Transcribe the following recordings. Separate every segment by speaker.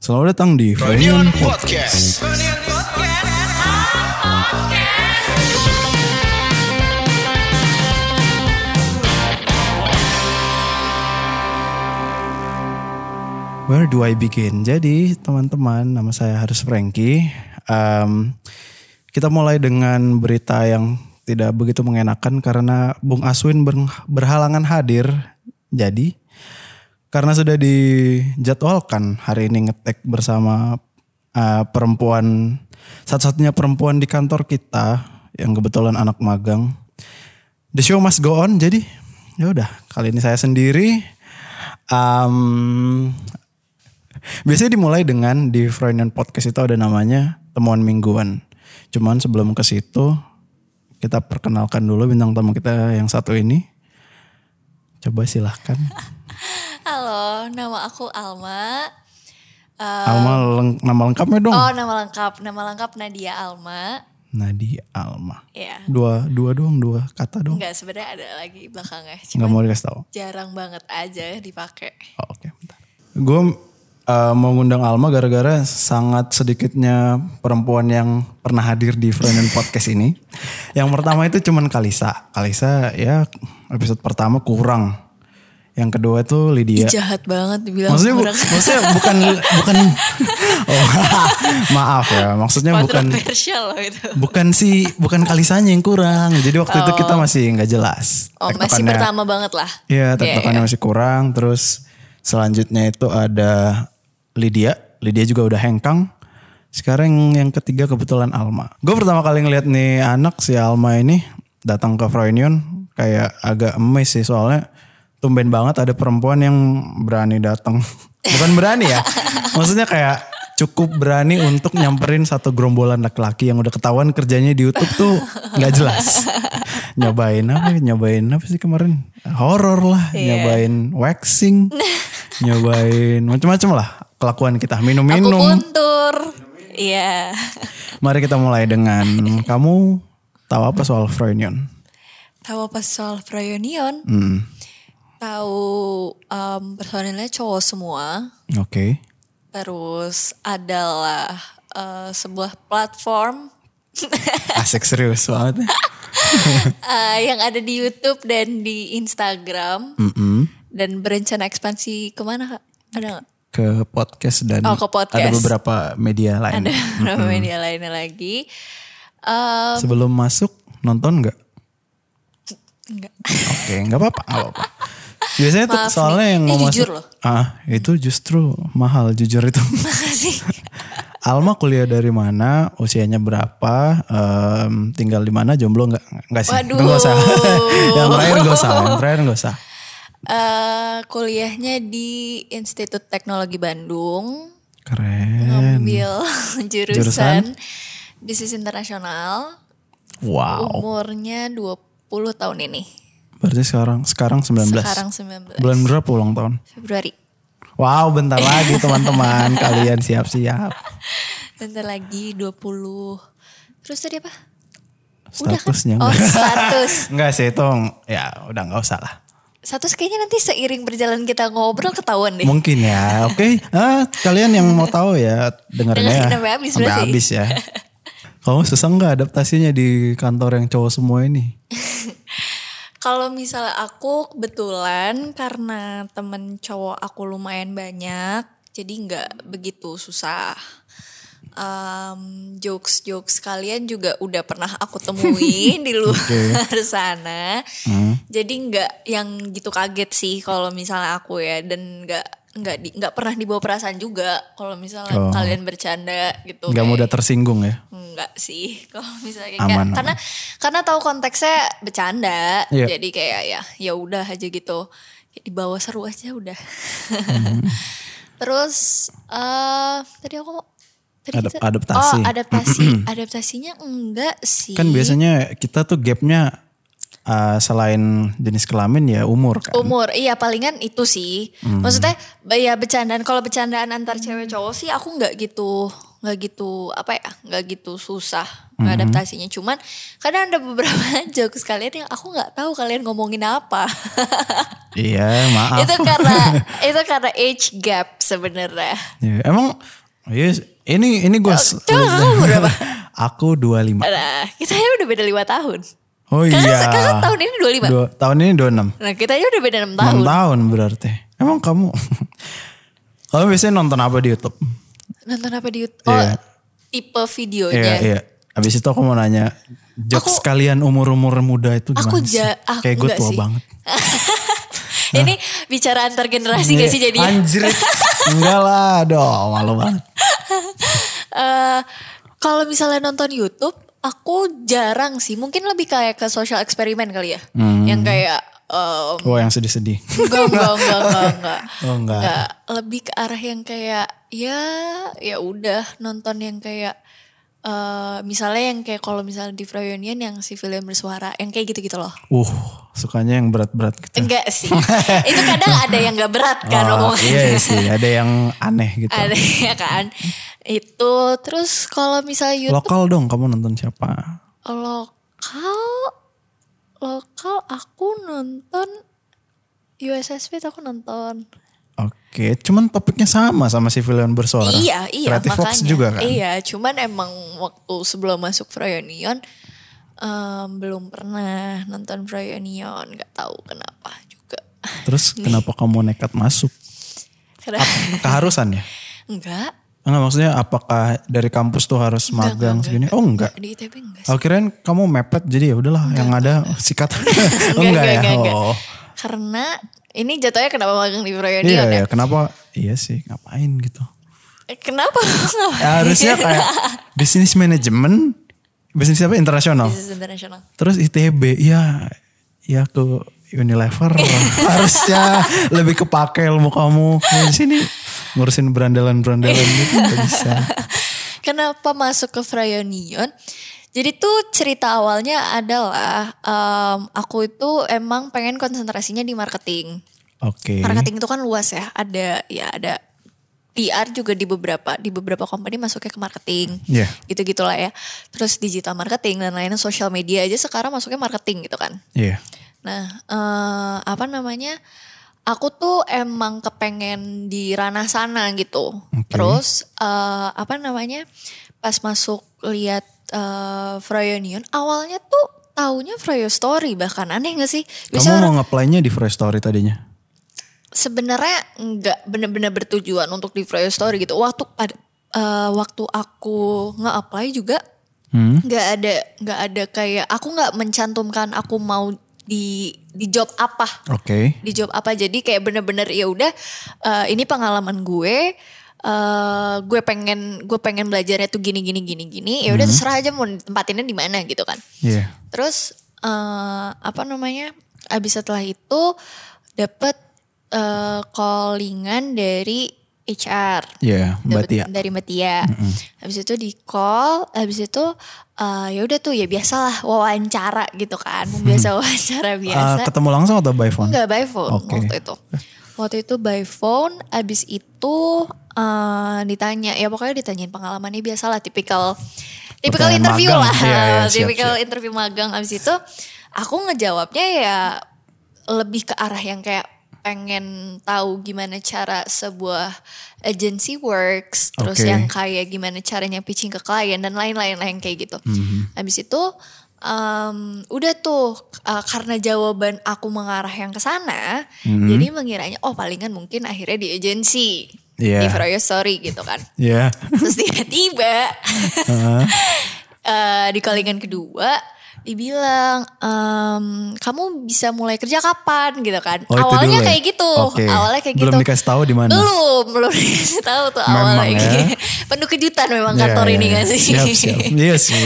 Speaker 1: Selamat datang di Funion
Speaker 2: Podcast.
Speaker 1: Where do I begin? Jadi teman-teman, nama saya harus Frankie. Um, kita mulai dengan berita yang tidak begitu mengenakan karena Bung Aswin ber- berhalangan hadir. Jadi karena sudah dijadwalkan hari ini ngetek bersama uh, perempuan satu-satunya perempuan di kantor kita yang kebetulan anak magang. The show must go on. Jadi ya udah kali ini saya sendiri. Um, biasanya dimulai dengan di Freudian Podcast itu ada namanya temuan mingguan. Cuman sebelum ke situ kita perkenalkan dulu bintang tamu kita yang satu ini. Coba silahkan.
Speaker 3: Halo, nama aku Alma. Eh,
Speaker 1: Alma leng- nama lengkapnya dong.
Speaker 3: oh, nama lengkap, nama lengkap Nadia Alma.
Speaker 1: Nadia Alma.
Speaker 3: Ya,
Speaker 1: Dua dua doang dua kata doang.
Speaker 3: nggak sebenarnya ada lagi belakangnya, cuma
Speaker 1: Nggak mau dikasih tahu.
Speaker 3: jarang banget aja dipakai.
Speaker 1: Oh, Oke, bentar. Gue uh, mau ngundang Alma gara-gara sangat sedikitnya perempuan yang pernah hadir di Freudian Podcast ini. Yang pertama itu cuman Kalisa. Kalisa ya episode pertama kurang. Yang kedua itu Lydia.
Speaker 3: Ih, Jahat banget
Speaker 1: Ya.
Speaker 3: dibilang
Speaker 1: Maksudnya, bu-
Speaker 3: kurang
Speaker 1: maksudnya bukan bukan oh, maaf ya maksudnya bukan
Speaker 3: kontroversial loh itu.
Speaker 1: bukan si bukan kalisanya yang kurang jadi waktu itu kita masih nggak jelas
Speaker 3: Oh, masih
Speaker 1: Tektokannya-
Speaker 3: pertama banget lah.
Speaker 1: Iya, tektokannya masih kurang. Terus selanjutnya itu ada Lydia. Lydia juga udah hengkang. Sekarang yang ketiga kebetulan Alma. Gue pertama kali ngeliat nih anak si Alma ini datang ke Froynion kayak agak emes sih soalnya tumben banget ada perempuan yang berani datang. Bukan berani ya. Maksudnya kayak cukup berani untuk nyamperin satu gerombolan laki-laki yang udah ketahuan kerjanya di YouTube tuh nggak jelas. nyobain apa? ya? Nyobain apa sih kemarin? Horor lah, nyobain waxing, nyobain macam-macam lah kelakuan kita
Speaker 3: Aku
Speaker 1: minum-minum.
Speaker 3: puntur. Iya.
Speaker 1: Mari kita mulai dengan kamu tahu apa soal Froynion?
Speaker 3: Tahu apa soal Froyonion?
Speaker 1: Hmm,
Speaker 3: Tahu em, personilnya cowok semua.
Speaker 1: Oke.
Speaker 3: Terus adalah eh, sebuah platform
Speaker 1: Asik serius banget.
Speaker 3: eh, yang ada di YouTube dan di Instagram
Speaker 1: Mm-mm.
Speaker 3: dan berencana ekspansi kemana kak? Ada nggak?
Speaker 1: Ke podcast dan
Speaker 3: Oh, ke podcast.
Speaker 1: ada beberapa media lain.
Speaker 3: Ada beberapa
Speaker 1: Hmm.
Speaker 3: media lainnya lagi. Eh,
Speaker 1: Sebelum masuk nonton nggak?
Speaker 3: enggak.
Speaker 1: Oke, nggak apa-apa, nggak apa-apa. Biasanya tuh
Speaker 3: Maaf
Speaker 1: soalnya
Speaker 3: nih,
Speaker 1: yang
Speaker 3: ini
Speaker 1: mau
Speaker 3: jujur
Speaker 1: masuk-
Speaker 3: loh.
Speaker 1: Ah, itu justru mahal jujur itu.
Speaker 3: Makasih.
Speaker 1: Alma kuliah dari mana? Usianya berapa? Em, tinggal di mana? Jomblo nggak? Nggak sih. Itu nggak usah.
Speaker 3: Waduh.
Speaker 1: yang terakhir nggak usah. Yang terakhir nggak usah.
Speaker 3: Eh, kuliahnya di Institut Teknologi Bandung.
Speaker 1: Keren.
Speaker 3: Ngambil
Speaker 1: Jurusan?
Speaker 3: jurusan, bisnis internasional.
Speaker 1: Wow.
Speaker 3: Umurnya 20 tahun ini.
Speaker 1: Berarti sekarang sekarang 19.
Speaker 3: Sekarang 19
Speaker 1: Bulan berapa ulang tahun?
Speaker 3: Februari.
Speaker 1: Wow, bentar lagi teman-teman. Kalian siap-siap.
Speaker 3: Bentar lagi 20. Terus tadi apa?
Speaker 1: Statusnya
Speaker 3: Oh,
Speaker 1: enggak.
Speaker 3: status.
Speaker 1: Enggak sih, itu ya udah nggak usah lah.
Speaker 3: Status kayaknya nanti seiring berjalan kita ngobrol ketahuan deh.
Speaker 1: Mungkin ya, oke. Ah, kalian yang mau tahu ya dengerin
Speaker 3: Dengerin
Speaker 1: ya.
Speaker 3: sampai habis
Speaker 1: Sampai
Speaker 3: berarti.
Speaker 1: habis ya. Kamu susah nggak adaptasinya di kantor yang cowok semua ini?
Speaker 3: Kalau misalnya aku kebetulan karena temen cowok aku lumayan banyak, jadi nggak begitu susah. Um, jokes-jokes kalian juga udah pernah aku temuin di luar sana,
Speaker 1: Hmm.
Speaker 3: jadi nggak yang gitu kaget sih kalau misalnya aku ya dan nggak nggak di- nggak pernah dibawa perasaan juga kalau misalnya
Speaker 1: Oh.
Speaker 3: kalian bercanda gitu.
Speaker 1: Nggak
Speaker 3: kayak-
Speaker 1: mudah tersinggung ya?
Speaker 3: Enggak sih, kalau misalnya kayak
Speaker 1: Aman, aman.
Speaker 3: karena karena tahu konteksnya bercanda,
Speaker 1: Iya.
Speaker 3: jadi kayak ya ya udah aja gitu. Kayak dibawa seru aja udah.
Speaker 1: Mhm.
Speaker 3: Terus eh tadi aku tadi
Speaker 1: Adap-
Speaker 3: kita-
Speaker 1: adaptasi.
Speaker 3: Oh, adaptasi. Adaptasinya enggak sih.
Speaker 1: Kan biasanya kita tuh gapnya ah, selain jenis kelamin ya umur kan.
Speaker 3: umur iya palingan itu sih
Speaker 1: Hmm.
Speaker 3: maksudnya be- ya bercandaan kalau bercandaan antar cewek cowok sih aku nggak gitu nggak gitu apa ya nggak gitu susah
Speaker 1: Hmm.
Speaker 3: adaptasinya. Cuman kadang ada beberapa jokes kalian yang aku nggak tahu kalian ngomongin apa.
Speaker 1: Iya, maaf.
Speaker 3: itu karena itu karena age gap sebenarnya.
Speaker 1: Ya, emang iya, ini ini gue
Speaker 3: coba kamu berapa?
Speaker 1: aku 25.
Speaker 3: Nah, kita ya udah beda lima tahun.
Speaker 1: Oh
Speaker 3: Kakak-
Speaker 1: iya.
Speaker 3: kakak tahun ini 25?
Speaker 1: Dua, tahun ini 26.
Speaker 3: Nah, kita ya udah beda enam
Speaker 1: 6
Speaker 3: tahun.
Speaker 1: tahun berarti. Emang kamu Kamu biasanya nonton apa di YouTube?
Speaker 3: Nonton apa di YouTube? Oh,
Speaker 1: Iya.
Speaker 3: tipe videonya.
Speaker 1: Iya, iya. Abis itu aku mau nanya jokes
Speaker 3: Oh, Aku-
Speaker 1: kalian umur-umur muda itu gimana
Speaker 3: Aku
Speaker 1: sih?
Speaker 3: ja- ah,
Speaker 1: Kayak gue
Speaker 3: enggak
Speaker 1: tua
Speaker 3: sih.
Speaker 1: banget.
Speaker 3: Ini bicara antar
Speaker 1: Iya.
Speaker 3: generasi gak sih jadinya?
Speaker 1: Anjir. enggak lah, aduh malu banget.
Speaker 3: Eh, kalau misalnya nonton YouTube, aku jarang sih. Mungkin lebih kayak ke social eksperimen kali ya.
Speaker 1: Hmm.
Speaker 3: Yang kayak em,
Speaker 1: Oh yang sedih-sedih.
Speaker 3: enggak, enggak, enggak, enggak, enggak.
Speaker 1: Oh enggak.
Speaker 3: Enggak, lebih ke arah yang kayak ya ya udah nonton yang kayak eh misalnya yang kayak kalau misalnya di Froyonian yang si film bersuara, yang kayak gitu-gitu loh.
Speaker 1: Uh, sukanya yang berat-berat gitu.
Speaker 3: Enggak sih. Itu kadang ada yang gak berat kan
Speaker 1: Oh,
Speaker 3: omongannya.
Speaker 1: iya sih, ada yang aneh gitu.
Speaker 3: Ada ya kan. Itu terus kalau misalnya YouTube
Speaker 1: Lokal dong kamu nonton siapa?
Speaker 3: lokal lokal aku nonton USSB tuh aku nonton.
Speaker 1: Oke, cuman topiknya sama sama si Villain bersuara.
Speaker 3: Iya, iya
Speaker 1: Creative
Speaker 3: makanya.
Speaker 1: Fox juga kan.
Speaker 3: Iya, cuman emang waktu sebelum masuk Froyonion em, belum pernah nonton Froyonion, nggak tahu kenapa juga.
Speaker 1: Terus kenapa kamu nekat masuk?
Speaker 3: Kenapa?
Speaker 1: Keharusan ya?
Speaker 3: enggak,
Speaker 1: Enggak maksudnya apakah dari kampus tuh harus magang segini? Oh enggak. Oh,
Speaker 3: di ITB enggak. sih.
Speaker 1: Aku kirain kamu mepet jadi ya udahlah yang ada sikat. Oh, enggak, ya. Oh.
Speaker 3: Karena ini jatuhnya kenapa magang di Froyonion
Speaker 1: Iya,
Speaker 3: ya?
Speaker 1: iya, kenapa? Iya sih, ngapain gitu.
Speaker 3: Eh, Kenapa? Ngapain?
Speaker 1: Ya, harusnya kayak bisnis manajemen, bisnis apa internasional.
Speaker 3: Bisnis internasional.
Speaker 1: Terus ITB, ya ya ke Unilever harusnya lebih kepake ilmu kamu. Kamu Di sini ngurusin berandalan-berandalan gitu nggak bisa.
Speaker 3: Kenapa masuk ke Froyonion? Jadi tuh cerita awalnya adalah em, aku itu emang pengen konsentrasinya di marketing.
Speaker 1: Oke.
Speaker 3: Marketing itu kan luas ya. Ada ya ada PR juga di beberapa di beberapa company masuknya ke marketing.
Speaker 1: Iya.
Speaker 3: Gitu-gitulah ya. Terus digital marketing dan lainnya social media aja sekarang masuknya marketing gitu kan.
Speaker 1: Iya.
Speaker 3: Nah, eh, apa namanya? Aku tuh emang kepengen di ranah sana gitu.
Speaker 1: Oke.
Speaker 3: Terus eh, apa namanya? Pas masuk lihat eh, Froyonion, awalnya tuh taunya Froyo Story bahkan aneh gak sih?
Speaker 1: Kamu
Speaker 3: Biasanya
Speaker 1: mau nge-play-nya di Fresh Story tadinya?
Speaker 3: sebenarnya nggak bener-bener bertujuan untuk di Froyo Story gitu. Waktu pada eh, waktu aku nge-apply juga
Speaker 1: Hmm.
Speaker 3: nggak ada nggak ada kayak aku nggak mencantumkan aku mau di di job apa
Speaker 1: Oke.
Speaker 3: di job apa jadi kayak bener-bener ya udah eh, ini pengalaman gue eh gue pengen gue pengen belajarnya tuh gini gini gini gini ya
Speaker 1: Hmm.
Speaker 3: udah terserah aja mau tempatinnya di mana gitu kan
Speaker 1: Iya.
Speaker 3: terus eh apa namanya abis setelah itu dapat eh, callingan dari HR
Speaker 1: Iya, Mbak
Speaker 3: Dapet
Speaker 1: Tia.
Speaker 3: dari Mbak Tia. Habis itu di call, habis itu eh, ya udah tuh ya biasalah wawancara gitu kan. Biasa
Speaker 1: Ah,
Speaker 3: wawancara biasa.
Speaker 1: ketemu langsung atau by phone?
Speaker 3: Enggak by phone
Speaker 1: Oke.
Speaker 3: waktu itu. Waktu itu by phone, abis itu eh, ditanya, ya pokoknya ditanyain pengalamannya biasalah, tipikal tipikal
Speaker 1: Pertanyaan
Speaker 3: interview
Speaker 1: magang.
Speaker 3: lah,
Speaker 1: Iya, iya, siap,
Speaker 3: tipikal interview magang. Abis itu aku ngejawabnya ya lebih ke arah yang kayak pengen tahu gimana cara sebuah agency works, terus
Speaker 1: Oke.
Speaker 3: yang kayak gimana caranya pitching ke klien dan lain-lain lain kayak gitu. Habis itu em, udah tuh eh, karena jawaban aku mengarah yang ke sana, jadi mengiranya oh palingan mungkin akhirnya di agency
Speaker 1: Iya.
Speaker 3: di Froyo Story gitu kan.
Speaker 1: Iya.
Speaker 3: Terus tiba-tiba
Speaker 1: Heeh.
Speaker 3: eh, di callingan kedua dibilang em, kamu bisa mulai kerja kapan gitu kan.
Speaker 1: Oh, itu
Speaker 3: awalnya
Speaker 1: dulu ya?
Speaker 3: kayak gitu.
Speaker 1: Oke.
Speaker 3: Awalnya kayak
Speaker 1: Belum
Speaker 3: gitu.
Speaker 1: dikasih tahu di mana?
Speaker 3: Belum, belum dikasih tahu tuh
Speaker 1: Memang
Speaker 3: awalnya.
Speaker 1: ya.
Speaker 3: Penuh kejutan memang kantor
Speaker 1: Iya,
Speaker 3: ini
Speaker 1: iya.
Speaker 3: gak sih?
Speaker 1: Siap, siap. Iya sih.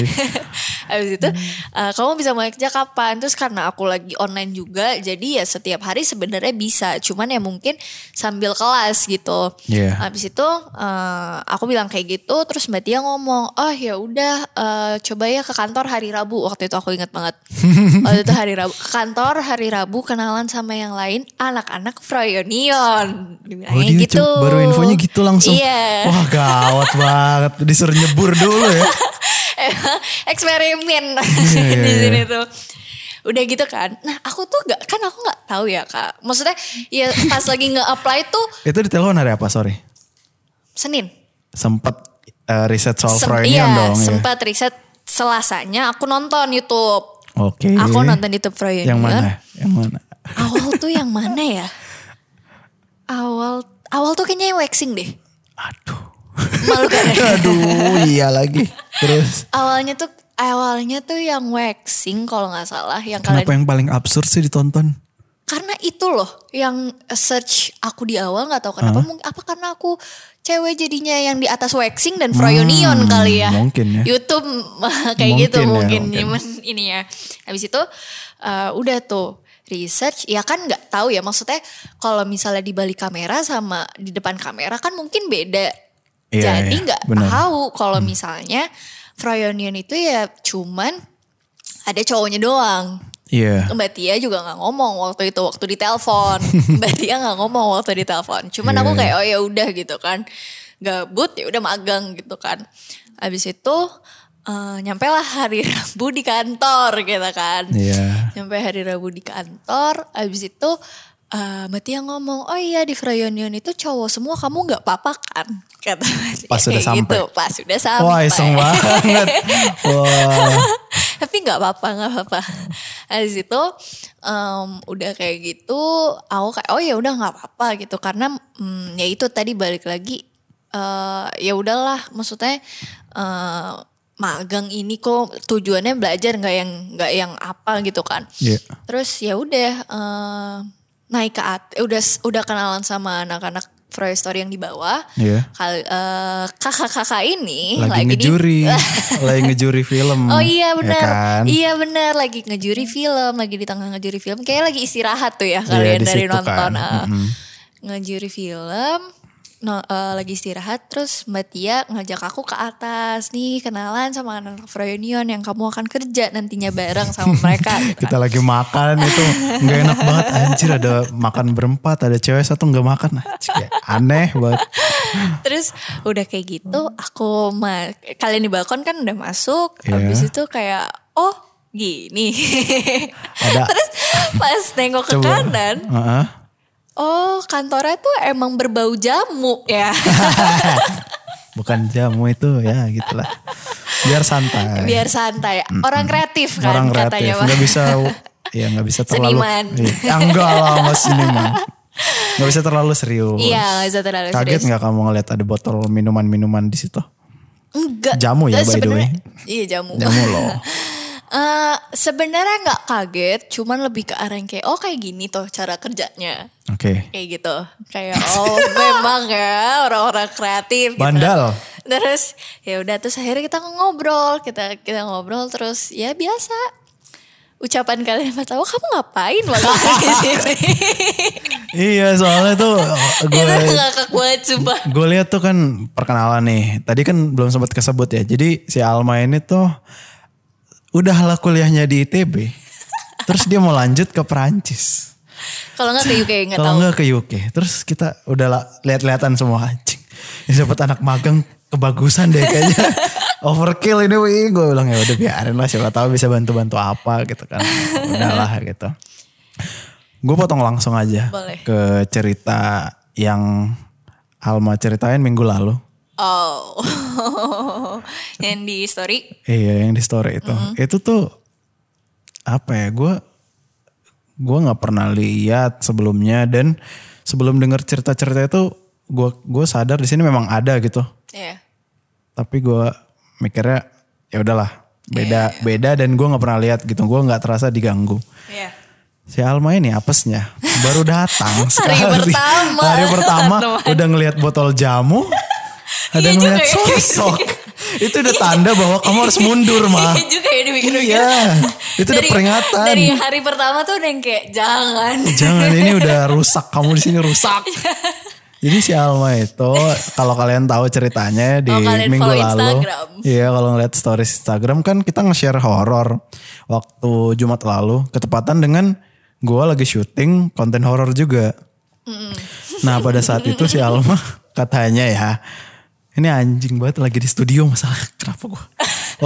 Speaker 3: Habis itu eh, kamu bisa mulai kerja kapan? Terus karena aku lagi online juga, jadi ya setiap hari sebenarnya bisa, cuman ya mungkin sambil kelas gitu.
Speaker 1: Iya.
Speaker 3: Habis itu eh, aku bilang kayak gitu, terus Mbak Tia ngomong, "Oh ya udah eh, coba ya ke kantor hari Rabu." Waktu itu aku ingat banget. Waktu itu hari Rabu, ke kantor hari Rabu kenalan sama yang lain anak-anak
Speaker 1: Oh,
Speaker 3: Froyonion. Dibilangnya
Speaker 1: dia cu- baru infonya gitu langsung.
Speaker 3: gitu. Iya.
Speaker 1: Wah gawat banget. Disuruh nyebur dulu ya.
Speaker 3: eksperimen
Speaker 1: Iya, iya,
Speaker 3: di
Speaker 1: iya.
Speaker 3: sini tuh. Udah gitu kan. Nah, aku tuh gak kan aku nggak tahu ya, Kak. Maksudnya ya pas lagi nge-apply tuh
Speaker 1: Itu ditelepon hari apa sorry?
Speaker 3: Senin.
Speaker 1: Sempat eh, riset soal
Speaker 3: Sem-
Speaker 1: Freudian
Speaker 3: iya,
Speaker 1: dong ya.
Speaker 3: sempat riset Selasanya aku nonton YouTube.
Speaker 1: Oke.
Speaker 3: Aku nonton YouTube Freudian.
Speaker 1: Yang mana? Yang mana?
Speaker 3: Awal tuh yang mana ya? Awal awal tuh kayaknya yang waxing deh.
Speaker 1: Aduh.
Speaker 3: Malu kan ya?
Speaker 1: Aduh, iya lagi. Terus
Speaker 3: Awalnya tuh awalnya tuh yang waxing kalau nggak salah yang
Speaker 1: kenapa
Speaker 3: kalian
Speaker 1: yang paling absurd sih ditonton?
Speaker 3: karena itu loh yang search aku di awal nggak tahu kenapa mungkin apa karena aku cewek jadinya yang di atas waxing dan froyonion
Speaker 1: Hmm,
Speaker 3: kali ya
Speaker 1: mungkin ya.
Speaker 3: YouTube kayak
Speaker 1: Mungkin
Speaker 3: gitu
Speaker 1: ya,
Speaker 3: mungkin,
Speaker 1: mungkin.
Speaker 3: Cuman ini ya habis itu eh, udah tuh research ya kan nggak tahu ya maksudnya kalau misalnya di balik kamera sama di depan kamera kan mungkin beda
Speaker 1: Iya,
Speaker 3: jadi
Speaker 1: iya,
Speaker 3: nggak
Speaker 1: benar. Hmm.
Speaker 3: tahu kalau misalnya froyonion itu ya cuman ada cowoknya doang
Speaker 1: Iya.
Speaker 3: Mbak Tia juga nggak ngomong waktu itu waktu di telepon. Mbak Tia nggak ngomong waktu di telepon. Cuman aku
Speaker 1: Iya.
Speaker 3: kayak oh ya udah gitu kan. Gabut ya udah magang gitu kan. Habis itu eh, nyampe lah hari Rabu di kantor gitu kan.
Speaker 1: Iya.
Speaker 3: Nyampe hari Rabu di kantor, abis itu eh, Mbak Tia ngomong, oh iya di Frayonion itu cowok semua kamu nggak apa-apa kan? Kata Mbak Tia
Speaker 1: Pas
Speaker 3: kayak
Speaker 1: udah sampai.
Speaker 3: gitu, pas udah sampai.
Speaker 1: Wah, iseng banget. Wah.
Speaker 3: Tapi nggak apa-apa, nggak apa-apa. Habis itu em, udah kayak gitu, aku kayak oh ya udah nggak apa-apa gitu karena mm, ya itu tadi balik lagi eh, ya udahlah maksudnya eh, magang ini kok tujuannya belajar nggak yang nggak yang apa gitu kan.
Speaker 1: Iya.
Speaker 3: Terus ya udah eh, naik ke at- eh, udah udah kenalan sama anak-anak Froy Story yang di bawah.
Speaker 1: Iya.
Speaker 3: Kal- eh, kakak-kakak ini
Speaker 1: Lagi
Speaker 3: lagi di
Speaker 1: ngejuri, lagi ngejuri film.
Speaker 3: Oh iya
Speaker 1: ya
Speaker 3: benar.
Speaker 1: kan?
Speaker 3: Iya benar lagi ngejuri film, lagi di tengah ngejuri film. Kayak lagi istirahat tuh
Speaker 1: Iya,
Speaker 3: ya kalian
Speaker 1: di
Speaker 3: dari
Speaker 1: situ
Speaker 3: nonton.
Speaker 1: kan.
Speaker 3: ah.
Speaker 1: Mm-mm.
Speaker 3: Ngejuri film. No, eh, lagi istirahat terus Mbak Tia ngajak aku ke atas nih kenalan sama anak Froyonion yang kamu akan kerja nantinya bareng sama mereka gitu
Speaker 1: Kita lagi makan itu nggak enak banget anjir ada makan berempat ada cewek satu nggak makan Anjir, kayak aneh banget
Speaker 3: Terus udah kayak gitu aku ma- kalian di balkon kan udah masuk
Speaker 1: Iya.
Speaker 3: habis itu kayak oh gini.
Speaker 1: ada
Speaker 3: Terus pas nengok ke
Speaker 1: Coba.
Speaker 3: kanan,
Speaker 1: Heeh.
Speaker 3: oh kantornya tuh emang berbau jamu ya.
Speaker 1: bukan jamu itu ya gitulah biar santai
Speaker 3: Biar santai. Orang kreatif kan
Speaker 1: orang kreatif
Speaker 3: katanya. Bang.
Speaker 1: nggak bisa ya nggak bisa terlalu
Speaker 3: Seniman.
Speaker 1: Iya, enggak lah mas seniman nggak bisa terlalu serius
Speaker 3: Iya, nggak bisa terlalu
Speaker 1: kaget
Speaker 3: serius.
Speaker 1: nggak kamu ngeliat ada botol minuman-minuman di situ
Speaker 3: Enggak.
Speaker 1: Jamu ya, by the
Speaker 3: Eh, Sebenarnya-
Speaker 1: way.
Speaker 3: Iya jamu.
Speaker 1: jamu loh
Speaker 3: Eh, sebenarnya nggak kaget, cuman lebih ke arah yang kayak oh kayak gini tuh cara kerjanya.
Speaker 1: oke
Speaker 3: kayak gitu kayak oh memang ya orang-orang kreatif gitu.
Speaker 1: Bandal.
Speaker 3: terus ya udah terus akhirnya kita ngobrol kita kita ngobrol terus ya biasa ucapan kalian pertama kamu ngapain malam di sini
Speaker 1: iya soalnya tuh
Speaker 3: itu
Speaker 1: gue
Speaker 3: ngakak banget sumpah
Speaker 1: Gue lihat tuh kan perkenalan nih. Tadi kan belum sempat kesebut ya. Jadi si Alma ini tuh udah lah kuliahnya di ITB. Terus dia mau lanjut ke Perancis.
Speaker 3: kalau nggak ke UK nggak tahu
Speaker 1: Kalau enggak ke UK. Terus kita udah lah lihat-lihatan semua anjing. Ini dapat anak magang kebagusan deh kayaknya. Overkill ini wih. Gue bilang ya udah biarin lah siapa tahu bisa bantu-bantu apa gitu kan. Udahlah gitu. Gue potong langsung aja
Speaker 3: Boleh.
Speaker 1: ke cerita yang Alma ceritain minggu lalu.
Speaker 3: oh yang di story
Speaker 1: Iya yang di story itu. Itu tuh apa ya gue gue nggak pernah lihat sebelumnya dan sebelum denger cerita-cerita itu gue gue sadar di sini memang ada gitu.
Speaker 3: ya
Speaker 1: Tapi gue mikirnya ya udahlah beda beda dan gue nggak pernah lihat gitu. Gue nggak terasa diganggu.
Speaker 3: ya
Speaker 1: Si Alma ini apesnya baru datang sekali.
Speaker 3: pertama.
Speaker 1: Hari pertama udah ngelihat botol jamu, ada
Speaker 3: Iya juga
Speaker 1: ngelihat
Speaker 3: ya.
Speaker 1: sosok. Itu udah tanda bahwa kamu harus mundur, Ma.
Speaker 3: Iya juga ya dipikir-pikir.
Speaker 1: Iya, itu udah
Speaker 3: Dari-
Speaker 1: peringatan.
Speaker 3: dari hari pertama tuh udah yang kayak jangan
Speaker 1: Jangan iya. ini udah rusak, kamu di sini rusak.
Speaker 3: Iya.
Speaker 1: Jadi si Alma itu kalau kalian tahu ceritanya di
Speaker 3: Kalau kalian
Speaker 1: minggu
Speaker 3: follow
Speaker 1: lalu,
Speaker 3: Instagram.
Speaker 1: iya kalau ngeliat stories Instagram kan kita nge-share horor waktu Jumat lalu, ketepatan dengan gua lagi syuting konten horor juga. Nah pada saat itu si Alma katanya ya, ini anjing banget lagi di studio masalah kenapa gua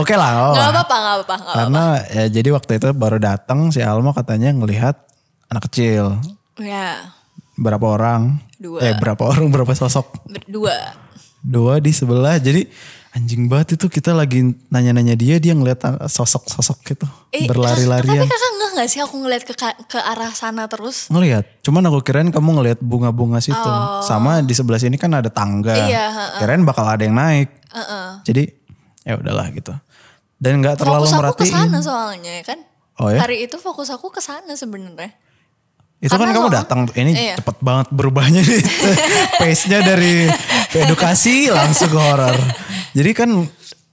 Speaker 1: Oke lah. nggak
Speaker 3: Gak
Speaker 1: apa-apa.
Speaker 3: apa-apa, gak apa-apa. nggak apa-apa.
Speaker 1: Karena ya, jadi waktu itu baru datang si Alma katanya ngelihat anak kecil
Speaker 3: Ya,
Speaker 1: berapa orang?
Speaker 3: Dua.
Speaker 1: Eh berapa orang berapa sosok?
Speaker 3: berdua.
Speaker 1: Dua di sebelah. Jadi anjing banget itu kita lagi nanya-nanya dia dia ngelihat sosok-sosok gitu
Speaker 3: Eh,
Speaker 1: berlari-larian.
Speaker 3: Tapi kakak enggak gak sih aku ngeliat ke, ka- ke arah sana terus?
Speaker 1: Ngelihat. Cuman aku kirain kamu ngelihat bunga-bunga situ. Sama di sebelah sini kan ada tangga.
Speaker 3: Oh. Iya,
Speaker 1: Kirain bakal ada yang naik.
Speaker 3: Heeh.
Speaker 1: Jadi ya udahlah gitu. Dan nggak terlalu
Speaker 3: Fokus aku ke
Speaker 1: merhatiin.
Speaker 3: sana soalnya ya kan.
Speaker 1: Oh ya?
Speaker 3: Hari itu fokus aku ke sana sebenarnya.
Speaker 1: Itu kan
Speaker 3: Karena
Speaker 1: kamu
Speaker 3: soal-
Speaker 1: datang tuh. ini
Speaker 3: Iya.
Speaker 1: cepet banget berubahnya nih. Pace-nya dari ke edukasi langsung ke horor. Jadi kan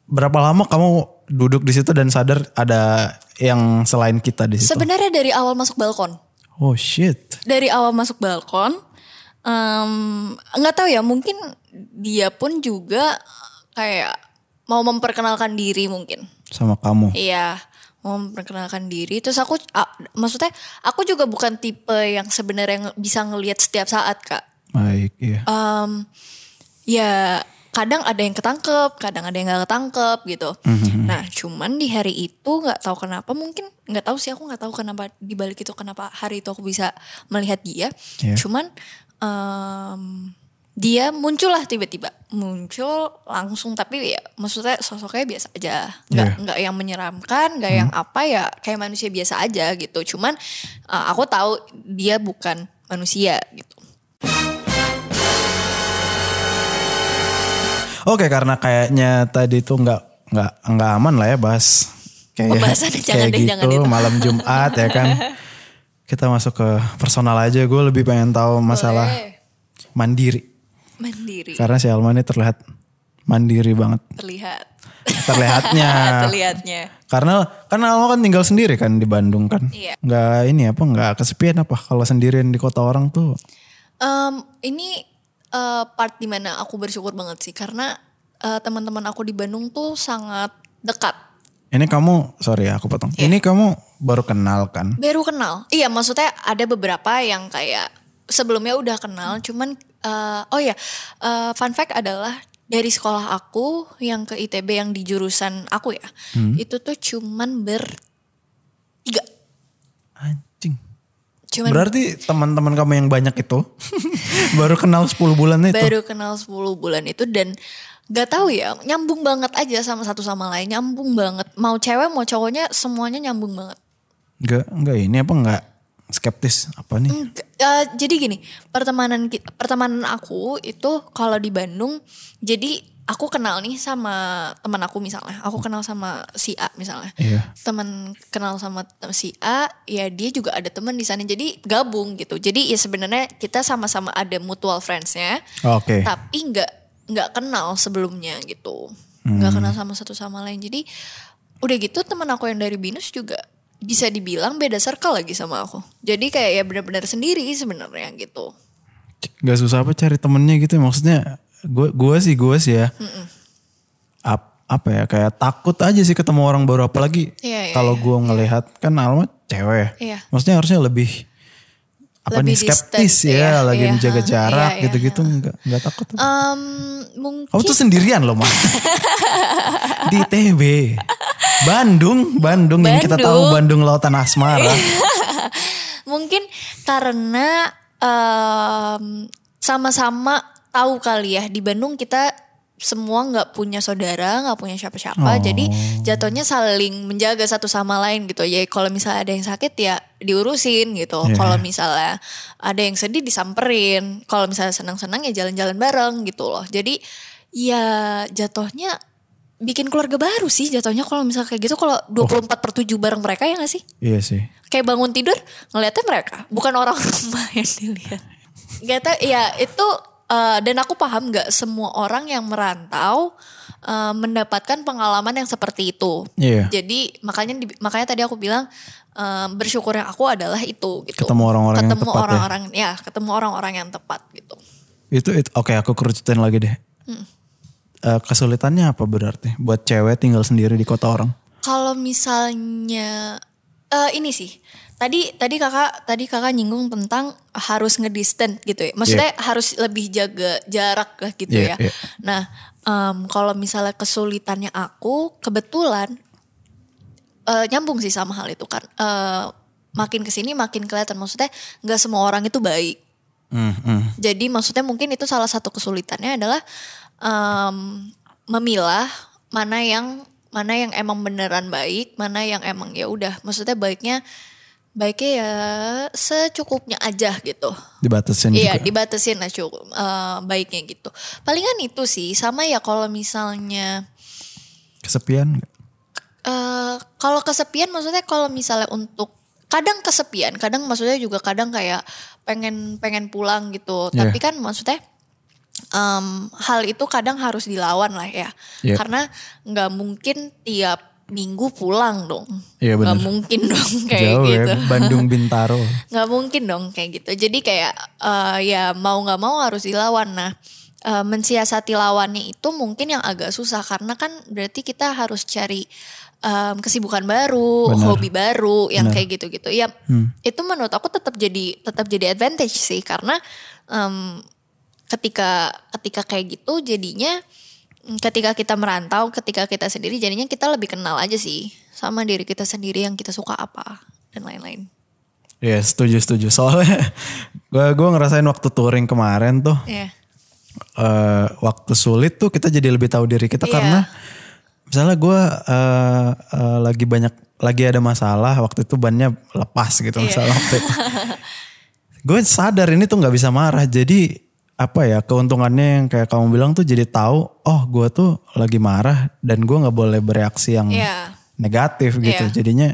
Speaker 1: berapa lama kamu duduk di situ dan sadar ada yang selain kita di situ.
Speaker 3: Sebenarnya dari awal masuk balkon.
Speaker 1: oh shit.
Speaker 3: Dari awal masuk balkon em, nggak tahu ya, mungkin dia pun juga kayak mau memperkenalkan diri mungkin.
Speaker 1: Sama kamu.
Speaker 3: Iya, mau memperkenalkan diri. Terus aku, a- maksudnya aku juga bukan tipe yang sebenarnya nge- bisa ngelihat setiap saat kak.
Speaker 1: Baik, iya.
Speaker 3: Em, ya kadang ada yang ketangkep, kadang ada yang nggak ketangkep gitu.
Speaker 1: Mhm.
Speaker 3: Nah, cuman di hari itu nggak tahu kenapa mungkin nggak tahu sih aku nggak tahu kenapa di balik itu kenapa hari itu aku bisa melihat dia.
Speaker 1: Iya.
Speaker 3: Cuman em, dia muncullah tiba-tiba muncul langsung tapi ya maksudnya sosoknya biasa aja nggak
Speaker 1: Iya. Mhm.
Speaker 3: nggak yang menyeramkan nggak yang apa ya kayak manusia biasa aja gitu cuman eh, aku tahu dia bukan manusia gitu
Speaker 1: Oke, karena kayaknya tadi tuh nggak nggak nggak aman lah ya bahas kayak
Speaker 3: Pembahasannya jangan
Speaker 1: kayak
Speaker 3: deh,
Speaker 1: gitu
Speaker 3: jangan itu.
Speaker 1: malam Jumat ya kan. Kita masuk ke personal aja. Gue lebih pengen tahu masalah
Speaker 3: Boleh.
Speaker 1: mandiri.
Speaker 3: mandiri
Speaker 1: Karena si Alma ini terlihat mandiri banget.
Speaker 3: terlihat
Speaker 1: Terlihatnya.
Speaker 3: terlihatnya
Speaker 1: Karena karena Alma kan tinggal sendiri kan di Bandung kan.
Speaker 3: Iya.
Speaker 1: Nggak ini apa nggak kesepian apa kalau sendirian di kota orang tuh.
Speaker 3: Em, ini eh, part dimana aku bersyukur banget sih karena eh, teman-teman aku di Bandung tuh sangat dekat
Speaker 1: Ini kamu sorry ya aku potong.
Speaker 3: Iya.
Speaker 1: Ini kamu baru kenal kan?
Speaker 3: baru kenal iya maksudnya ada beberapa yang kayak sebelumnya udah kenal cuman eh, oh ya eh, fun fact adalah dari sekolah aku yang ke ITB yang di jurusan aku ya itu tuh cuman bertiga
Speaker 1: Anjing.
Speaker 3: cuman
Speaker 1: Berarti teman-teman kamu yang banyak itu baru kenal 10 bulan itu.
Speaker 3: baru kenal 10 bulan itu dan gak tahu ya nyambung banget aja sama satu sama lain nyambung banget mau cewek mau cowoknya semuanya nyambung banget
Speaker 1: Enggak, enggak ini apa enggak skeptis apa nih?
Speaker 3: Enggak, eh, jadi gini pertemanan ki- pertemanan aku itu kalau di Bandung jadi aku kenal nih sama teman aku misalnya aku kenal sama si A misalnya
Speaker 1: Iya.
Speaker 3: teman kenal sama tem- si A ya dia juga ada teman di sana jadi gabung gitu jadi ya sebenarnya kita sama-sama ada mutual friendsnya
Speaker 1: Oke.
Speaker 3: tapi nggak nggak kenal sebelumnya gitu nggak kenal sama satu sama lain jadi udah gitu teman aku yang dari binus juga bisa dibilang beda circle lagi sama aku jadi kayak ya benar-benar sendiri sebenarnya gitu
Speaker 1: Gak susah apa cari temennya gitu maksudnya gue gua sih gue sih ya Ap- apa ya kayak takut aja sih ketemu orang baru apalagi
Speaker 3: Iya, iya,
Speaker 1: kalau gue ngelihat kan Alma cewek ya.
Speaker 3: Iya.
Speaker 1: maksudnya harusnya lebih apa
Speaker 3: Lebih
Speaker 1: nih skeptis
Speaker 3: distant,
Speaker 1: ya
Speaker 3: iya,
Speaker 1: lagi
Speaker 3: iya,
Speaker 1: menjaga
Speaker 3: ha,
Speaker 1: jarak
Speaker 3: iya, iya,
Speaker 1: gitu-gitu nggak nggak takut
Speaker 3: Em, mungkin
Speaker 1: kamu tuh sendirian loh mah di TB Bandung, Bandung yang kita tahu Bandung lautan asmara
Speaker 3: mungkin karena em, sama-sama tahu kali ya di Bandung kita semua nggak punya saudara nggak punya siapa-siapa jadi jatuhnya saling menjaga satu sama lain gitu ya kalau misalnya ada yang sakit ya diurusin gitu
Speaker 1: Iya.
Speaker 3: kalau misalnya ada yang sedih disamperin kalau misalnya senang-senang ya jalan-jalan bareng gitu loh jadi ya jatuhnya bikin keluarga baru sih jatuhnya kalau misalnya kayak gitu kalau 24 per 7 bareng mereka ya gak sih
Speaker 1: iya sih
Speaker 3: kayak bangun tidur ngeliatnya mereka bukan orang rumah yang dilihat gak tau ya itu eh, dan aku paham gak semua orang yang merantau eh, mendapatkan pengalaman yang seperti itu
Speaker 1: Iya.
Speaker 3: jadi makanya di- makanya tadi aku bilang eh, bersyukur yang aku adalah itu gitu
Speaker 1: Ketemu orang-orang yang
Speaker 3: Ketemu
Speaker 1: tepat ya.
Speaker 3: orang-orang ya. ketemu orang-orang yang tepat gitu
Speaker 1: itu itu oke aku kerucutin lagi deh
Speaker 3: Mm.
Speaker 1: Eh, kesulitannya apa berarti buat cewek tinggal sendiri di kota orang
Speaker 3: Kalau misalnya eh ini sih. Tadi tadi Kakak tadi Kakak nyinggung tentang harus ngedistant gitu ya. Maksudnya harus lebih jaga jarak lah gitu
Speaker 1: Iya,
Speaker 3: ya.
Speaker 1: iya.
Speaker 3: Nah, Em, kalau misalnya kesulitannya aku kebetulan eh, nyambung sih sama hal itu kan Eh, makin kesini makin kelihatan maksudnya nggak semua orang itu baik
Speaker 1: Hmm, hmm.
Speaker 3: jadi maksudnya mungkin itu salah satu kesulitannya adalah em, memilah mana yang mana yang emang beneran baik, mana yang emang ya udah. Maksudnya baiknya baiknya ya secukupnya aja gitu.
Speaker 1: Dibatasin
Speaker 3: Iya,
Speaker 1: juga.
Speaker 3: dibatasin lah cukup eh, baiknya gitu. Palingan itu sih sama ya kalau misalnya
Speaker 1: Kesepian nggak?
Speaker 3: eh kalau kesepian maksudnya kalau misalnya untuk kadang kesepian, kadang maksudnya juga kadang kayak pengen pengen pulang gitu.
Speaker 1: Iya.
Speaker 3: Tapi kan maksudnya em, hal itu kadang harus dilawan lah ya,
Speaker 1: Iya.
Speaker 3: karena nggak mungkin tiap minggu pulang dong,
Speaker 1: Iya,
Speaker 3: nggak
Speaker 1: bener.
Speaker 3: mungkin dong kayak
Speaker 1: Jauh
Speaker 3: gitu.
Speaker 1: ya, Bandung Bintaro.
Speaker 3: nggak mungkin dong kayak gitu jadi kayak eh, ya mau nggak mau harus dilawan nah eh, mensiasati lawannya itu mungkin yang agak susah karena kan berarti kita harus cari em, kesibukan baru
Speaker 1: Benar.
Speaker 3: hobi baru yang
Speaker 1: Benar.
Speaker 3: kayak gitu-gitu ya
Speaker 1: Hmm.
Speaker 3: itu menurut aku tetap jadi tetap jadi advantage sih karena em, ketika ketika kayak gitu jadinya mm, ketika kita merantau ketika kita sendiri jadinya kita lebih kenal aja sih sama diri kita sendiri yang kita suka apa dan lain-lain
Speaker 1: Iya setuju setuju soalnya gue gue ngerasain waktu touring kemarin tuh
Speaker 3: ya
Speaker 1: eh, waktu sulit tuh kita jadi lebih tahu diri kita
Speaker 3: Iya.
Speaker 1: karena misalnya gue eh, eh, lagi banyak lagi ada masalah waktu itu bannya lepas gitu
Speaker 3: Iya.
Speaker 1: misalnya gue sadar ini tuh nggak bisa marah jadi apa ya keuntungannya yang kayak kamu bilang tuh jadi tahu oh gue tuh lagi marah dan gue nggak boleh bereaksi yang
Speaker 3: Iya.
Speaker 1: negatif gitu
Speaker 3: Iya.
Speaker 1: jadinya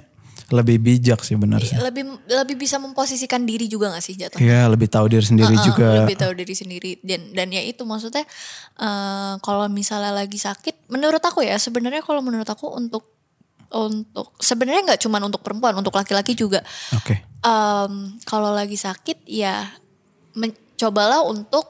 Speaker 1: lebih bijak sih benar sih
Speaker 3: lebih lebih bisa memposisikan diri juga gak sih jatuhnya
Speaker 1: Iya lebih tahu diri sendiri
Speaker 3: Heeh,
Speaker 1: juga
Speaker 3: Uh-uh, lebih tahu diri sendiri dan dan ya itu maksudnya eh, kalau misalnya lagi sakit menurut aku ya sebenarnya kalau menurut aku untuk untuk sebenarnya nggak cuman untuk perempuan untuk laki-laki juga
Speaker 1: oke
Speaker 3: Em, kalau lagi sakit ya men- cobalah untuk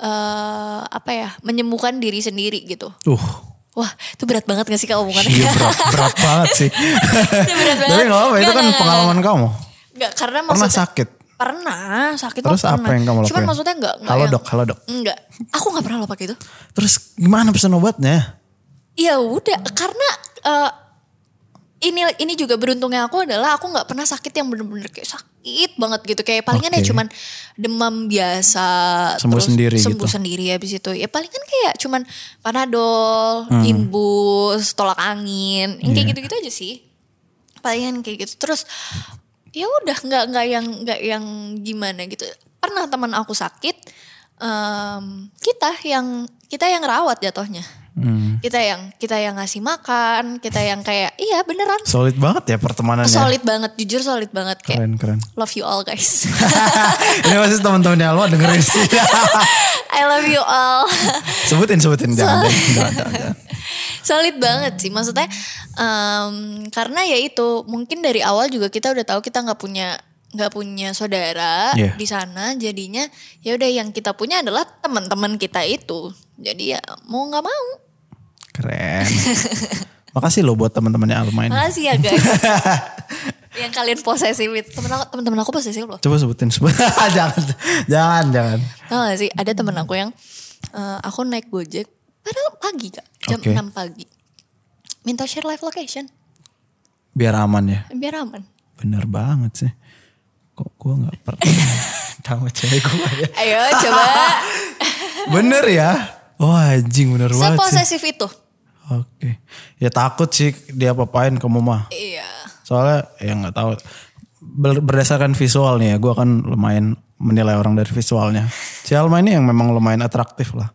Speaker 3: eh, apa ya menyembuhkan diri sendiri gitu
Speaker 1: uh
Speaker 3: wah itu berat banget gak sih kak omongannya
Speaker 1: iya berat, berat banget sih
Speaker 3: Itu berat banget.
Speaker 1: tapi nggak apa itu kan
Speaker 3: Nggak, nggak, nggak.
Speaker 1: pengalaman kamu
Speaker 3: Nggak, karena
Speaker 1: pernah
Speaker 3: maksudnya-
Speaker 1: sakit
Speaker 3: Pernah sakit
Speaker 1: terus
Speaker 3: mah
Speaker 1: apa
Speaker 3: pernah.
Speaker 1: yang kamu lakuin
Speaker 3: Cuman maksudnya nggak nggak
Speaker 1: halo
Speaker 3: yang-
Speaker 1: dok halo dok
Speaker 3: Enggak. Aku nggak pernah lo pakai itu.
Speaker 1: terus gimana pesan obatnya
Speaker 3: Ya udah, karena eh, ini ini juga beruntungnya aku adalah aku nggak pernah sakit yang bener-bener kayak sakit banget gitu. Kayak palingan ya
Speaker 1: Oke.
Speaker 3: cuman demam biasa
Speaker 1: Sembuh sendiri
Speaker 3: sembuh
Speaker 1: gitu.
Speaker 3: sendiri habis itu. Ya palingan kayak cuman panadol, imbus, tolak angin, yang kayak
Speaker 1: Hmm. Iya.
Speaker 3: gitu-gitu aja sih. Palingan kayak gitu. Terus ya udah nggak nggak yang nggak yang gimana gitu. Pernah teman aku sakit em, kita yang kita yang rawat jatuhnya
Speaker 1: hmm.
Speaker 3: kita yang kita yang ngasih makan kita yang kayak iya beneran
Speaker 1: solid banget ya pertemanannya
Speaker 3: solid banget jujur solid banget kayak
Speaker 1: keren keren
Speaker 3: love you all guys
Speaker 1: ini pasti teman-temannya lo dengerin sih
Speaker 3: I love you all
Speaker 1: sebutin sebutin jangan deh. jangan, jangan, jangan.
Speaker 3: solid banget sih maksudnya em, karena ya itu mungkin dari awal juga kita udah tahu kita nggak punya nggak punya saudara
Speaker 1: Iya.
Speaker 3: di sana jadinya ya udah yang kita punya adalah teman-teman kita itu jadi ya mau nggak mau
Speaker 1: keren makasih lo buat teman-temannya Alma ini
Speaker 3: makasih ya guys yang kalian posesif itu temen aku temen-temen aku posesif loh
Speaker 1: coba sebutin sebut jangan jangan jangan
Speaker 3: Tau gak sih ada temen aku yang eh, aku naik gojek padahal pagi kak jam
Speaker 1: Oke.
Speaker 3: 6 pagi minta share live location
Speaker 1: biar aman ya
Speaker 3: biar aman
Speaker 1: bener banget sih kok gue nggak pernah tahu cewek gue ya
Speaker 3: ayo coba
Speaker 1: bener ya wah anjing bener banget sih
Speaker 3: seposesif itu
Speaker 1: oke ya takut sih dia apa-apain kamu mah
Speaker 3: iya
Speaker 1: soalnya ya nggak tahu Ber- berdasarkan visual nih ya gue kan lumayan menilai orang dari visualnya si Alma ini yang memang lumayan atraktif lah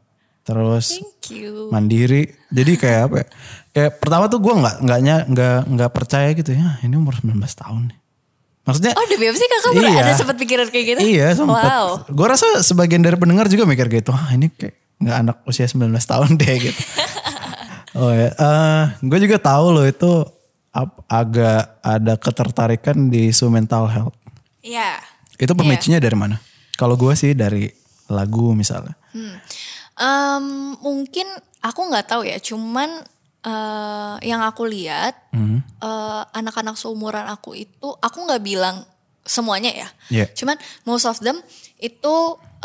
Speaker 1: terus
Speaker 3: thank you
Speaker 1: mandiri jadi kayak apa ya? kayak pertama tuh gue nggak nggaknya nggak nggak percaya gitu ya ini umur 19 tahun nih maksudnya
Speaker 3: oh demi apa sih kakak pernah
Speaker 1: Iya.
Speaker 3: ada sempat pikiran kayak gitu
Speaker 1: Iya sempat.
Speaker 3: wow
Speaker 1: Gue rasa sebagian dari pendengar juga mikir gitu. Ah ini kayak nggak anak usia 19 tahun deh gitu. oh ya. gue juga tahu loh itu ap- agak ada ketertarikan di isu mental health.
Speaker 3: iya
Speaker 1: Itu pemicunya dari mana? Kalau gue sih dari lagu misalnya.
Speaker 3: Hmm. Em, mungkin aku nggak tahu ya cuman eh, yang aku lihat
Speaker 1: Hmm.
Speaker 3: eh, anak-anak seumuran aku itu aku nggak bilang semuanya ya.
Speaker 1: Iya.
Speaker 3: Cuman most of them itu